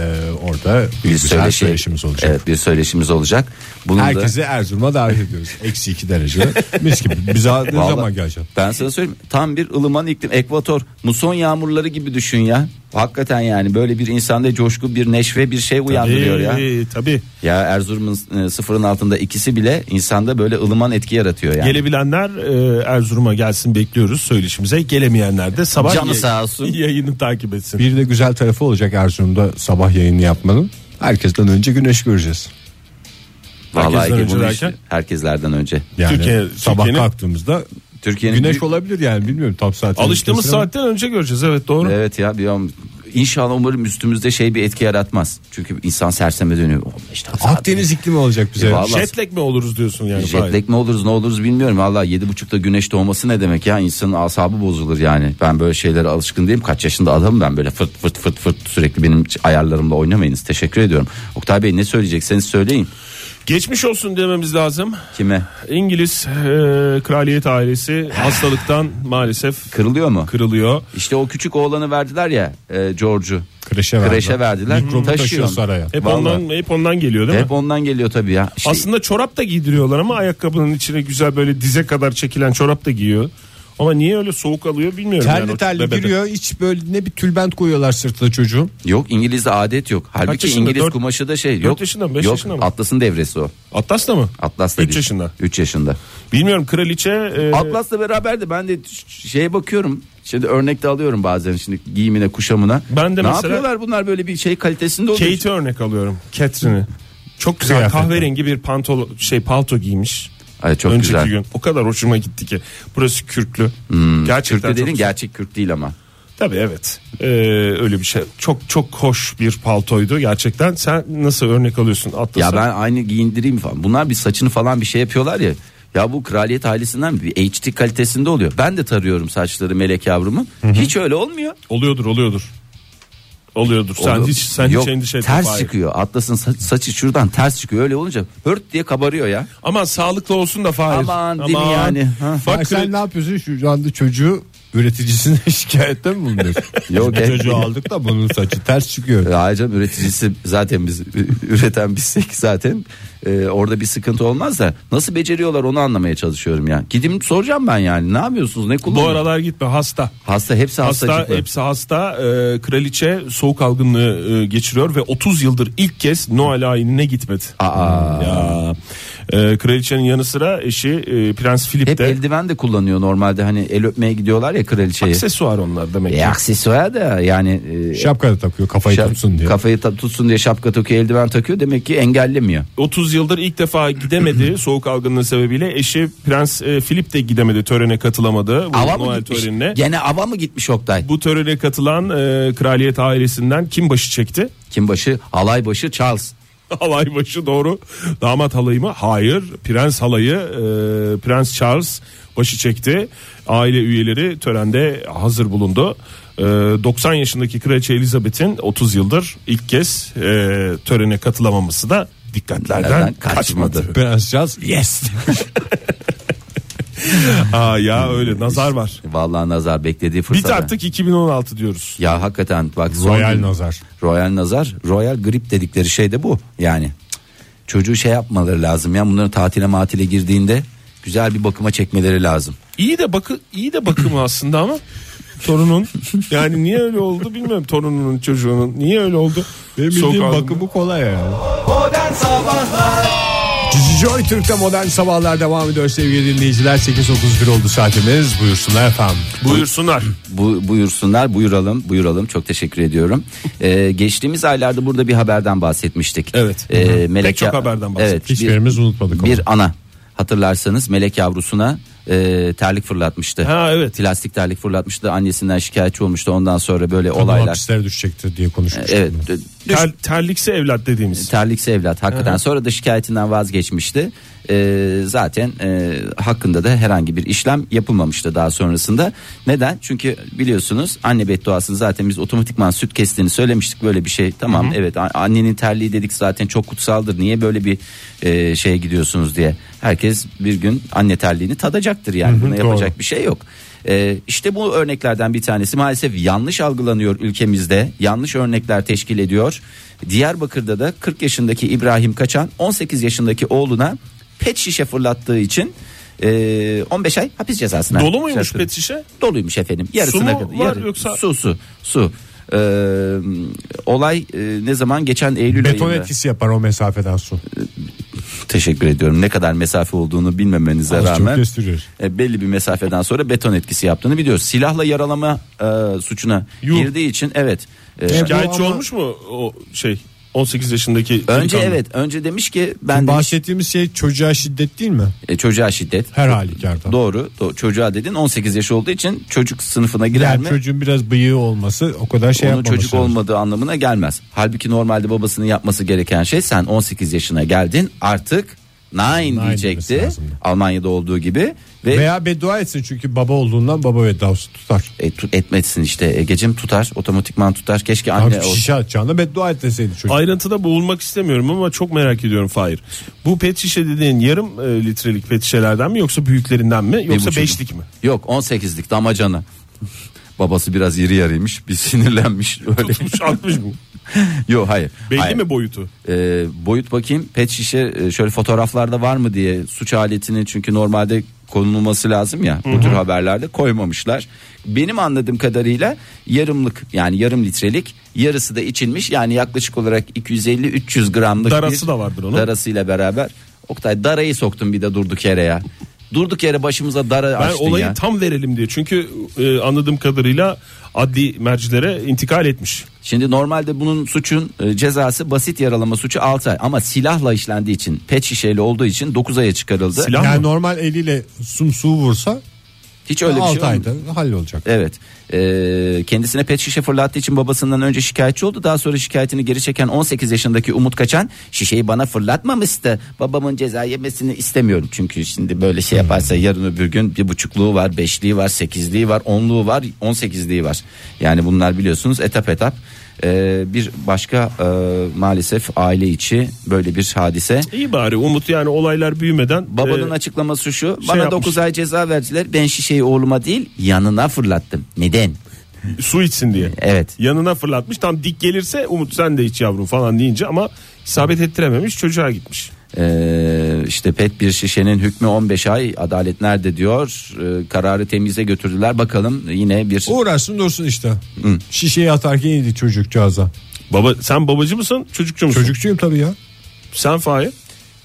[SPEAKER 2] orada bir
[SPEAKER 4] bir
[SPEAKER 2] güzel
[SPEAKER 4] söyleşi-
[SPEAKER 2] söyleşimiz olacak.
[SPEAKER 4] Evet bir söyleşimiz olacak. Bunun da-
[SPEAKER 2] Herkesi Erzurum'a davet ediyoruz. Eksi iki derece. Mis gibi. Bize ne
[SPEAKER 4] Vallahi-
[SPEAKER 2] zaman geleceksin?
[SPEAKER 4] Ben sana söyleyeyim tam bir ılıman iklim ekvator muson yağmurları gibi düşün ya. Hakikaten yani böyle bir insanda coşku bir neşve bir şey uyandırıyor ya.
[SPEAKER 3] Ee, tabii.
[SPEAKER 4] Ya Erzurum'un e, sıfırın altında ikisi bile insanda böyle ılıman etki yaratıyor yani.
[SPEAKER 3] Gelebilenler e, Erzurum'a gelsin bekliyoruz söyleşimize. Gelemeyenler de sabah
[SPEAKER 4] Canı
[SPEAKER 3] yay-
[SPEAKER 4] sağ olsun.
[SPEAKER 3] <laughs> yayını takip etsin.
[SPEAKER 2] Bir de güzel tarafı olacak Erzurum'da sabah yayını yapmanın. Herkesten önce güneş göreceğiz.
[SPEAKER 4] Vallahi
[SPEAKER 3] Herkesten
[SPEAKER 4] ki
[SPEAKER 3] önce
[SPEAKER 4] bunu
[SPEAKER 3] derken?
[SPEAKER 4] işte- herkeslerden önce.
[SPEAKER 2] Yani
[SPEAKER 3] Türkiye-
[SPEAKER 2] sabah
[SPEAKER 3] Türkiye'nin-
[SPEAKER 2] kalktığımızda
[SPEAKER 4] Türkiye'nin
[SPEAKER 2] güneş
[SPEAKER 4] büyük-
[SPEAKER 2] olabilir yani bilmiyorum tam saat.
[SPEAKER 3] Alıştığımız saatten önce göreceğiz evet doğru.
[SPEAKER 4] Evet ya bir an- İnşallah umarım üstümüzde şey bir etki yaratmaz. Çünkü insan serseme dönüyor. Oğlum işte saat-
[SPEAKER 2] Akdeniz iklimi olacak bize.
[SPEAKER 4] E, vallahi-
[SPEAKER 3] Jet lag mi oluruz diyorsun yani.
[SPEAKER 4] Jet
[SPEAKER 3] Fahir?
[SPEAKER 4] lag mi oluruz ne oluruz bilmiyorum. Valla yedi buçukta güneş doğması ne demek ya insanın asabı bozulur yani. Ben böyle şeylere alışkın değilim. Kaç yaşında adamım ben böyle fırt fırt fırt fırt sürekli benim ayarlarımla oynamayınız. Teşekkür ediyorum. Oktay Bey ne söyleyecekseniz söyleyin.
[SPEAKER 3] Geçmiş olsun dememiz lazım.
[SPEAKER 4] Kime?
[SPEAKER 3] İngiliz e, kraliyet ailesi hastalıktan maalesef
[SPEAKER 4] Kırılıyor mu?
[SPEAKER 3] kırılıyor.
[SPEAKER 4] işte o küçük oğlanı verdiler ya e, George'u.
[SPEAKER 2] Kreşe verdiler.
[SPEAKER 4] Kreşe verdiler.
[SPEAKER 2] Mikrobu
[SPEAKER 4] Taşıyor.
[SPEAKER 2] taşıyor saraya.
[SPEAKER 3] Hep
[SPEAKER 4] Vallahi.
[SPEAKER 3] ondan hep ondan geliyor değil mi?
[SPEAKER 4] Hep şey- ondan geliyor tabii ya. İşte
[SPEAKER 3] Aslında çorap da giydiriyorlar ama ayakkabının içine güzel böyle dize kadar çekilen çorap da giyiyor. Ama niye öyle soğuk alıyor bilmiyorum. yani
[SPEAKER 2] Terli
[SPEAKER 3] o
[SPEAKER 2] terli
[SPEAKER 3] bebede.
[SPEAKER 2] giriyor hiç böyle ne bir tülbent koyuyorlar sırtına çocuğun.
[SPEAKER 4] Yok İngiliz'de adet yok. Halbuki
[SPEAKER 3] yaşında?
[SPEAKER 4] İngiliz
[SPEAKER 3] Dört-
[SPEAKER 4] kumaşı da şey
[SPEAKER 3] dört
[SPEAKER 4] yok.
[SPEAKER 3] yaşında mı, beş
[SPEAKER 4] yok.
[SPEAKER 3] yaşında mı?
[SPEAKER 4] Atlas'ın devresi o.
[SPEAKER 3] Atlas da mı?
[SPEAKER 4] Atlas da
[SPEAKER 3] Üç
[SPEAKER 4] değil.
[SPEAKER 3] yaşında.
[SPEAKER 4] 3 yaşında.
[SPEAKER 3] Bilmiyorum kraliçe e,
[SPEAKER 4] Atlas'la beraber de ben de ş- şeye bakıyorum. Şimdi örnek de alıyorum bazen şimdi giyimine kuşamına.
[SPEAKER 3] Ben de
[SPEAKER 4] ne
[SPEAKER 3] mesela-
[SPEAKER 4] yapıyorlar bunlar böyle bir şey kalitesinde oluyor.
[SPEAKER 3] Kate'i örnek alıyorum. Catherine'i. Çok güzel
[SPEAKER 2] Kıyafetler.
[SPEAKER 3] kahverengi bir pantol şey palto giymiş.
[SPEAKER 4] Ay, çok
[SPEAKER 3] Önceki
[SPEAKER 4] güzel.
[SPEAKER 3] gün o kadar hoşuma gitti ki. Burası kürklü. Gerçekten
[SPEAKER 4] Kürk de
[SPEAKER 3] çok
[SPEAKER 4] dedin
[SPEAKER 3] güzel.
[SPEAKER 4] gerçek kürk değil ama.
[SPEAKER 3] Tabii evet. Ee, öyle bir şey. Çok çok hoş bir paltoydu gerçekten. Sen nasıl örnek alıyorsun Atlas'a?
[SPEAKER 4] Ya ben aynı giyindireyim falan. Bunlar bir saçını falan bir şey yapıyorlar ya. Ya bu kraliyet ailesinden bir HD kalitesinde oluyor. Ben de tarıyorum saçları melek yavrumun. Hiç öyle olmuyor.
[SPEAKER 3] Oluyordur oluyordur. Oluyordur. Sen
[SPEAKER 4] Oluyor.
[SPEAKER 3] hiç sen
[SPEAKER 4] Yok,
[SPEAKER 3] hiç endişe etme.
[SPEAKER 4] Ters
[SPEAKER 3] Fahir.
[SPEAKER 4] çıkıyor. Atlas'ın sa- saçı şuradan ters çıkıyor. Öyle olunca hört diye kabarıyor ya.
[SPEAKER 3] Aman sağlıklı olsun da Fahir.
[SPEAKER 4] Aman, değil mi yani? Ha.
[SPEAKER 3] Bak,
[SPEAKER 2] Bak sen
[SPEAKER 3] kral-
[SPEAKER 2] ne yapıyorsun şu anda çocuğu üreticisine <laughs> şikayette mi bulunuyorsun?
[SPEAKER 4] Yok,
[SPEAKER 2] Bu
[SPEAKER 4] e-
[SPEAKER 2] çocuğu aldık da bunun saçı ters çıkıyor.
[SPEAKER 4] Ayrıca E, üreticisi zaten biz üreten bizsek zaten Ee, orada bir sıkıntı olmaz da nasıl beceriyorlar onu anlamaya çalışıyorum ya. Gidim soracağım ben yani ne yapıyorsunuz ne
[SPEAKER 3] Bu
[SPEAKER 4] kullanıyorsunuz?
[SPEAKER 3] aralar gitme hasta.
[SPEAKER 4] Hasta hepsi hasta,
[SPEAKER 3] Hasta hepsi hasta. Ee, kraliçe soğuk algınlığı e, geçiriyor ve 30 yıldır ilk kez Noel ayinine gitmedi.
[SPEAKER 4] Aa.
[SPEAKER 3] Ya. Ee, kraliçenin yanı sıra eşi e, Prens Philip
[SPEAKER 4] Hep
[SPEAKER 3] de
[SPEAKER 4] eldiven de kullanıyor normalde hani el öpmeye gidiyorlar ya kraliçeye.
[SPEAKER 3] aksesuar onlar demek ki.
[SPEAKER 4] E, aksesuar da yani e,
[SPEAKER 2] Şapka da takıyor kafayı
[SPEAKER 4] şap-
[SPEAKER 2] tutsun diye.
[SPEAKER 4] kafayı ta- tutsun diye şapka takıyor eldiven takıyor demek ki engellemiyor.
[SPEAKER 3] 30 yıldır ilk
[SPEAKER 4] <clears throat>
[SPEAKER 3] defa gidemedi soğuk algınlığı sebebiyle. Eşi Prens e, Philip de gidemedi törene katılamadı. Bu
[SPEAKER 4] Ava mı
[SPEAKER 3] Noel
[SPEAKER 4] gitmiş?
[SPEAKER 3] törenine.
[SPEAKER 4] Gene ava mı gitmiş Oktay?
[SPEAKER 3] Bu törene katılan e, kraliyet ailesinden kim başı çekti? <laughs>
[SPEAKER 4] Kim başı? Halay başı Charles.
[SPEAKER 3] Halay başı doğru. Damat halayı mı? Hayır. Prens halayı e, Prens Charles başı çekti. Aile üyeleri törende hazır bulundu. E, 90 yaşındaki Kraliçe Elizabeth'in 30 yıldır ilk kez e, törene katılamaması da dikkatlerden
[SPEAKER 4] Nereden
[SPEAKER 3] kaçmadı.
[SPEAKER 4] kaçmadı.
[SPEAKER 2] Prens Charles yes.
[SPEAKER 3] <laughs> Aa ya öyle nazar var.
[SPEAKER 4] Vallahi nazar beklediği fırsat.
[SPEAKER 3] Bit artık 2016 diyoruz.
[SPEAKER 4] Ya hakikaten bak son
[SPEAKER 2] Royal
[SPEAKER 4] gün-
[SPEAKER 2] nazar.
[SPEAKER 4] Royal nazar, royal grip dedikleri şey de bu. Yani cık, çocuğu şey yapmaları lazım ya bunların tatile matile girdiğinde güzel bir bakıma çekmeleri lazım.
[SPEAKER 3] İyi de bakı iyi de bakımı aslında ama torunun yani niye öyle oldu bilmiyorum torununun çocuğunun niye öyle oldu?
[SPEAKER 2] Benim bildiğim
[SPEAKER 3] Sokağa-
[SPEAKER 2] bakımı kolay ya. Modern Sabahlar Joy Türk'te Modern Sabahlar devam ediyor sevgili dinleyiciler. 8.31 oldu saatimiz. Buyursunlar efendim.
[SPEAKER 3] Buyursunlar.
[SPEAKER 4] Bu buyursunlar, buyuralım, buyuralım. Çok teşekkür ediyorum.
[SPEAKER 3] <laughs>
[SPEAKER 4] Ee, geçtiğimiz aylarda burada bir haberden bahsetmiştik.
[SPEAKER 3] Evet.
[SPEAKER 4] Ee, melek
[SPEAKER 3] Pek çok haberden bahsettik.
[SPEAKER 4] Evet, bir,
[SPEAKER 2] Hiçbirimiz unutmadık ama.
[SPEAKER 4] bir ana hatırlarsanız melek yavrusuna e, terlik fırlatmıştı.
[SPEAKER 3] Ha evet.
[SPEAKER 4] Plastik terlik fırlatmıştı. Annesinden şikayetçi olmuştu. Ondan sonra böyle
[SPEAKER 2] Kadın
[SPEAKER 4] olaylar.
[SPEAKER 2] hapislere düşecekti diye konuşmuştuk.
[SPEAKER 4] Evet. düş-
[SPEAKER 3] Ter- terlikse evlat dediğimiz.
[SPEAKER 4] Terlikse evlat hakikaten sonra da şikayetinden vazgeçmişti. Ee, zaten e, hakkında da herhangi bir işlem yapılmamıştı daha sonrasında. Neden? Çünkü biliyorsunuz anne bedduasını zaten biz otomatikman süt kestiğini söylemiştik böyle bir şey. Tamam evet a- annenin terliği dedik zaten çok kutsaldır. Niye böyle bir e, şeye gidiyorsunuz diye. Herkes bir gün anne terliğini tadacaktır yani. Buna yapacak bir şey yok. Ee, işte bu örneklerden bir tanesi maalesef yanlış algılanıyor ülkemizde. Yanlış örnekler teşkil ediyor. Diyarbakır'da da 40 yaşındaki İbrahim Kaçan 18 yaşındaki oğluna pet şişe fırlattığı için e, 15 ay hapis cezasına.
[SPEAKER 3] Dolu muymuş
[SPEAKER 4] çarptırıldı
[SPEAKER 3] pet şişe?
[SPEAKER 4] doluymuş efendim. Yarısına
[SPEAKER 3] Su mu
[SPEAKER 4] kadar.
[SPEAKER 3] var
[SPEAKER 4] yarı-
[SPEAKER 3] yoksa-
[SPEAKER 4] Su su su. Ee, olay e, ne zaman geçen Eylül
[SPEAKER 2] Beton
[SPEAKER 4] ayında.
[SPEAKER 2] etkisi yapar o mesafeden su.
[SPEAKER 4] Teşekkür ediyorum. Ne kadar mesafe olduğunu bilmemenize
[SPEAKER 2] Çok
[SPEAKER 4] rağmen
[SPEAKER 2] gösteriyor.
[SPEAKER 4] e, belli bir mesafeden sonra beton etkisi yaptığını biliyoruz. Silahla yaralama e, suçuna
[SPEAKER 3] Yuh.
[SPEAKER 4] girdiği için evet. E,
[SPEAKER 3] Şikayetçi
[SPEAKER 2] ama-
[SPEAKER 3] olmuş mu o şey 18 yaşındaki
[SPEAKER 4] önce
[SPEAKER 3] delikanlı?
[SPEAKER 4] evet önce demiş ki ben demiş,
[SPEAKER 2] Bahsettiğimiz şey çocuğa şiddet değil mi?
[SPEAKER 4] e, çocuğa şiddet.
[SPEAKER 2] Her halükarda.
[SPEAKER 4] Doğru, doğru. çocuğa dedin 18 yaş olduğu için çocuk sınıfına girer
[SPEAKER 2] Yani
[SPEAKER 4] mi?
[SPEAKER 2] çocuğun biraz bıyığı olması o kadar şey
[SPEAKER 4] onun
[SPEAKER 2] yapmaması.
[SPEAKER 4] çocuk
[SPEAKER 2] lazım.
[SPEAKER 4] olmadığı anlamına gelmez. Halbuki normalde babasının yapması gereken şey sen 18 yaşına geldin artık nine,
[SPEAKER 2] Nine demesi
[SPEAKER 4] diyecekti.
[SPEAKER 2] lazımdı.
[SPEAKER 4] Almanya'da olduğu gibi ve
[SPEAKER 2] Veya beddua etsin çünkü baba olduğundan baba vedası tutar.
[SPEAKER 4] e, tu- etmesin işte Egecim tutar otomatikman tutar keşke anne
[SPEAKER 2] Abi
[SPEAKER 4] olsa.
[SPEAKER 2] şişe atacağına beddua etmeseydi çocuk.
[SPEAKER 3] Ayrıntıda boğulmak istemiyorum ama çok merak ediyorum Fahir. Bu pet şişe dediğin yarım e, litrelik pet şişelerden mi yoksa büyüklerinden mi yoksa
[SPEAKER 4] buçuk.
[SPEAKER 3] beşlik mi?
[SPEAKER 4] Yok 18'lik damacana. Babası biraz iri yarıymış bir sinirlenmiş öyle.
[SPEAKER 3] Tutmuş atmış
[SPEAKER 4] <laughs>
[SPEAKER 3] mı?
[SPEAKER 4] Yok hayır.
[SPEAKER 3] Belli
[SPEAKER 4] hayır.
[SPEAKER 3] mi boyutu?
[SPEAKER 4] Ee, boyut bakayım pet şişe e, şöyle fotoğraflarda var mı diye suç aletini çünkü normalde konulması lazım ya bu tür haberlerde koymamışlar. Benim anladığım kadarıyla yarımlık yani yarım litrelik yarısı da içilmiş yani yaklaşık olarak 250-300 gramlık
[SPEAKER 3] Darası
[SPEAKER 4] bir
[SPEAKER 3] da vardır onun.
[SPEAKER 4] darasıyla beraber. Oktay darayı soktun bir de durduk yere ya. Durduk yere başımıza dara
[SPEAKER 3] Ben
[SPEAKER 4] açtın
[SPEAKER 3] olayı
[SPEAKER 4] ya.
[SPEAKER 3] tam verelim diye çünkü e, anladığım kadarıyla adli mercilere intikal etmiş.
[SPEAKER 4] Şimdi normalde bunun suçun e, cezası basit yaralama suçu 6 ay ama silahla işlendiği için pet şişeyle olduğu için 9 aya çıkarıldı.
[SPEAKER 3] Silah
[SPEAKER 2] yani
[SPEAKER 3] mı?
[SPEAKER 2] normal eliyle sumsuğu vursa
[SPEAKER 4] Hiç öyle bir
[SPEAKER 2] 6
[SPEAKER 4] şey olmadı.
[SPEAKER 2] ayda hallolacak.
[SPEAKER 4] Evet. Ee, kendisine pet şişe fırlattığı için babasından önce şikayetçi oldu. Daha sonra şikayetini geri çeken 18 yaşındaki Umut Kaçan şişeyi bana fırlatmamıştı. Babamın ceza yemesini istemiyorum. Çünkü şimdi böyle şey yaparsa yarın öbür gün bir buçukluğu var, beşliği var, sekizliği var, onluğu var, on sekizliği var. Yani bunlar biliyorsunuz etap etap. Ee, bir başka e, maalesef aile içi böyle bir hadise.
[SPEAKER 3] İyi bari Umut yani olaylar büyümeden
[SPEAKER 4] Babanın
[SPEAKER 3] e,
[SPEAKER 4] açıklaması şu. Bana
[SPEAKER 3] yapmış.
[SPEAKER 4] 9 ay ceza verdiler. Ben şişeyi oğluma değil yanına fırlattım. Neden?
[SPEAKER 3] su içsin diye.
[SPEAKER 4] Evet.
[SPEAKER 3] Yanına fırlatmış tam dik gelirse Umut sen de iç yavrum falan deyince ama isabet ettirememiş çocuğa gitmiş.
[SPEAKER 4] Ee, işte pet bir şişenin hükmü 15 ay adalet nerede diyor Ee, kararı temize götürdüler bakalım yine bir
[SPEAKER 2] Uğraşsın dursun işte. Şişeyi atarken yedi çocukcağıza.
[SPEAKER 3] Baba sen babacı mısın çocukçu musun?
[SPEAKER 2] Çocukçuyum tabii ya.
[SPEAKER 3] Sen Fahir.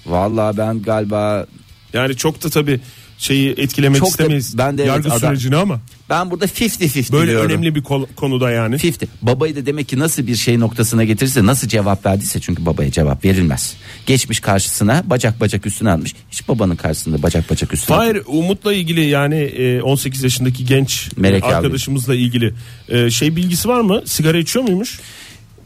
[SPEAKER 4] vallahi ben galiba
[SPEAKER 3] Yani çok da tabii şeyi etkilemek
[SPEAKER 4] Çok da-
[SPEAKER 3] istemeyiz.
[SPEAKER 4] ben de evet,
[SPEAKER 3] Yargı
[SPEAKER 4] adam-
[SPEAKER 3] sürecini ama
[SPEAKER 4] ben burada 50-50
[SPEAKER 3] böyle
[SPEAKER 4] diyorum.
[SPEAKER 3] önemli bir kol- konuda yani.
[SPEAKER 4] 50. Babayı da demek ki nasıl bir şey noktasına getirirse nasıl cevap verdiyse çünkü babaya cevap verilmez. Geçmiş karşısına bacak bacak üstüne almış. Hiç babanın karşısında bacak bacak üstüne.
[SPEAKER 3] Hayır Umut'la ilgili yani e, 18 yaşındaki genç e,
[SPEAKER 4] Melek abi.
[SPEAKER 3] arkadaşımızla ilgili e, şey bilgisi var mı? Sigara içiyor muymuş?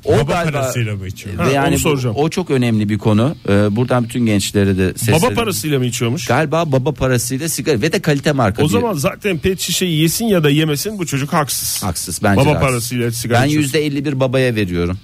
[SPEAKER 4] O
[SPEAKER 2] Baba parasıyla mı içiyor?
[SPEAKER 4] Ve
[SPEAKER 3] Ha,
[SPEAKER 4] yani
[SPEAKER 3] onu
[SPEAKER 4] bu-
[SPEAKER 3] soracağım.
[SPEAKER 4] o çok önemli bir konu. Ee, buradan bütün gençlere de sesleniyorum.
[SPEAKER 3] Baba parasıyla mı içiyormuş?
[SPEAKER 4] Galiba baba parasıyla sigara ve de kalite marka.
[SPEAKER 3] O
[SPEAKER 4] diye.
[SPEAKER 3] zaman zaten pet şişeyi yesin ya da yemesin bu çocuk haksız.
[SPEAKER 4] Haksız bence.
[SPEAKER 3] Baba
[SPEAKER 4] de haksız.
[SPEAKER 3] parasıyla sigara
[SPEAKER 4] Ben
[SPEAKER 3] içiyor.
[SPEAKER 4] yüzde 51 babaya veriyorum.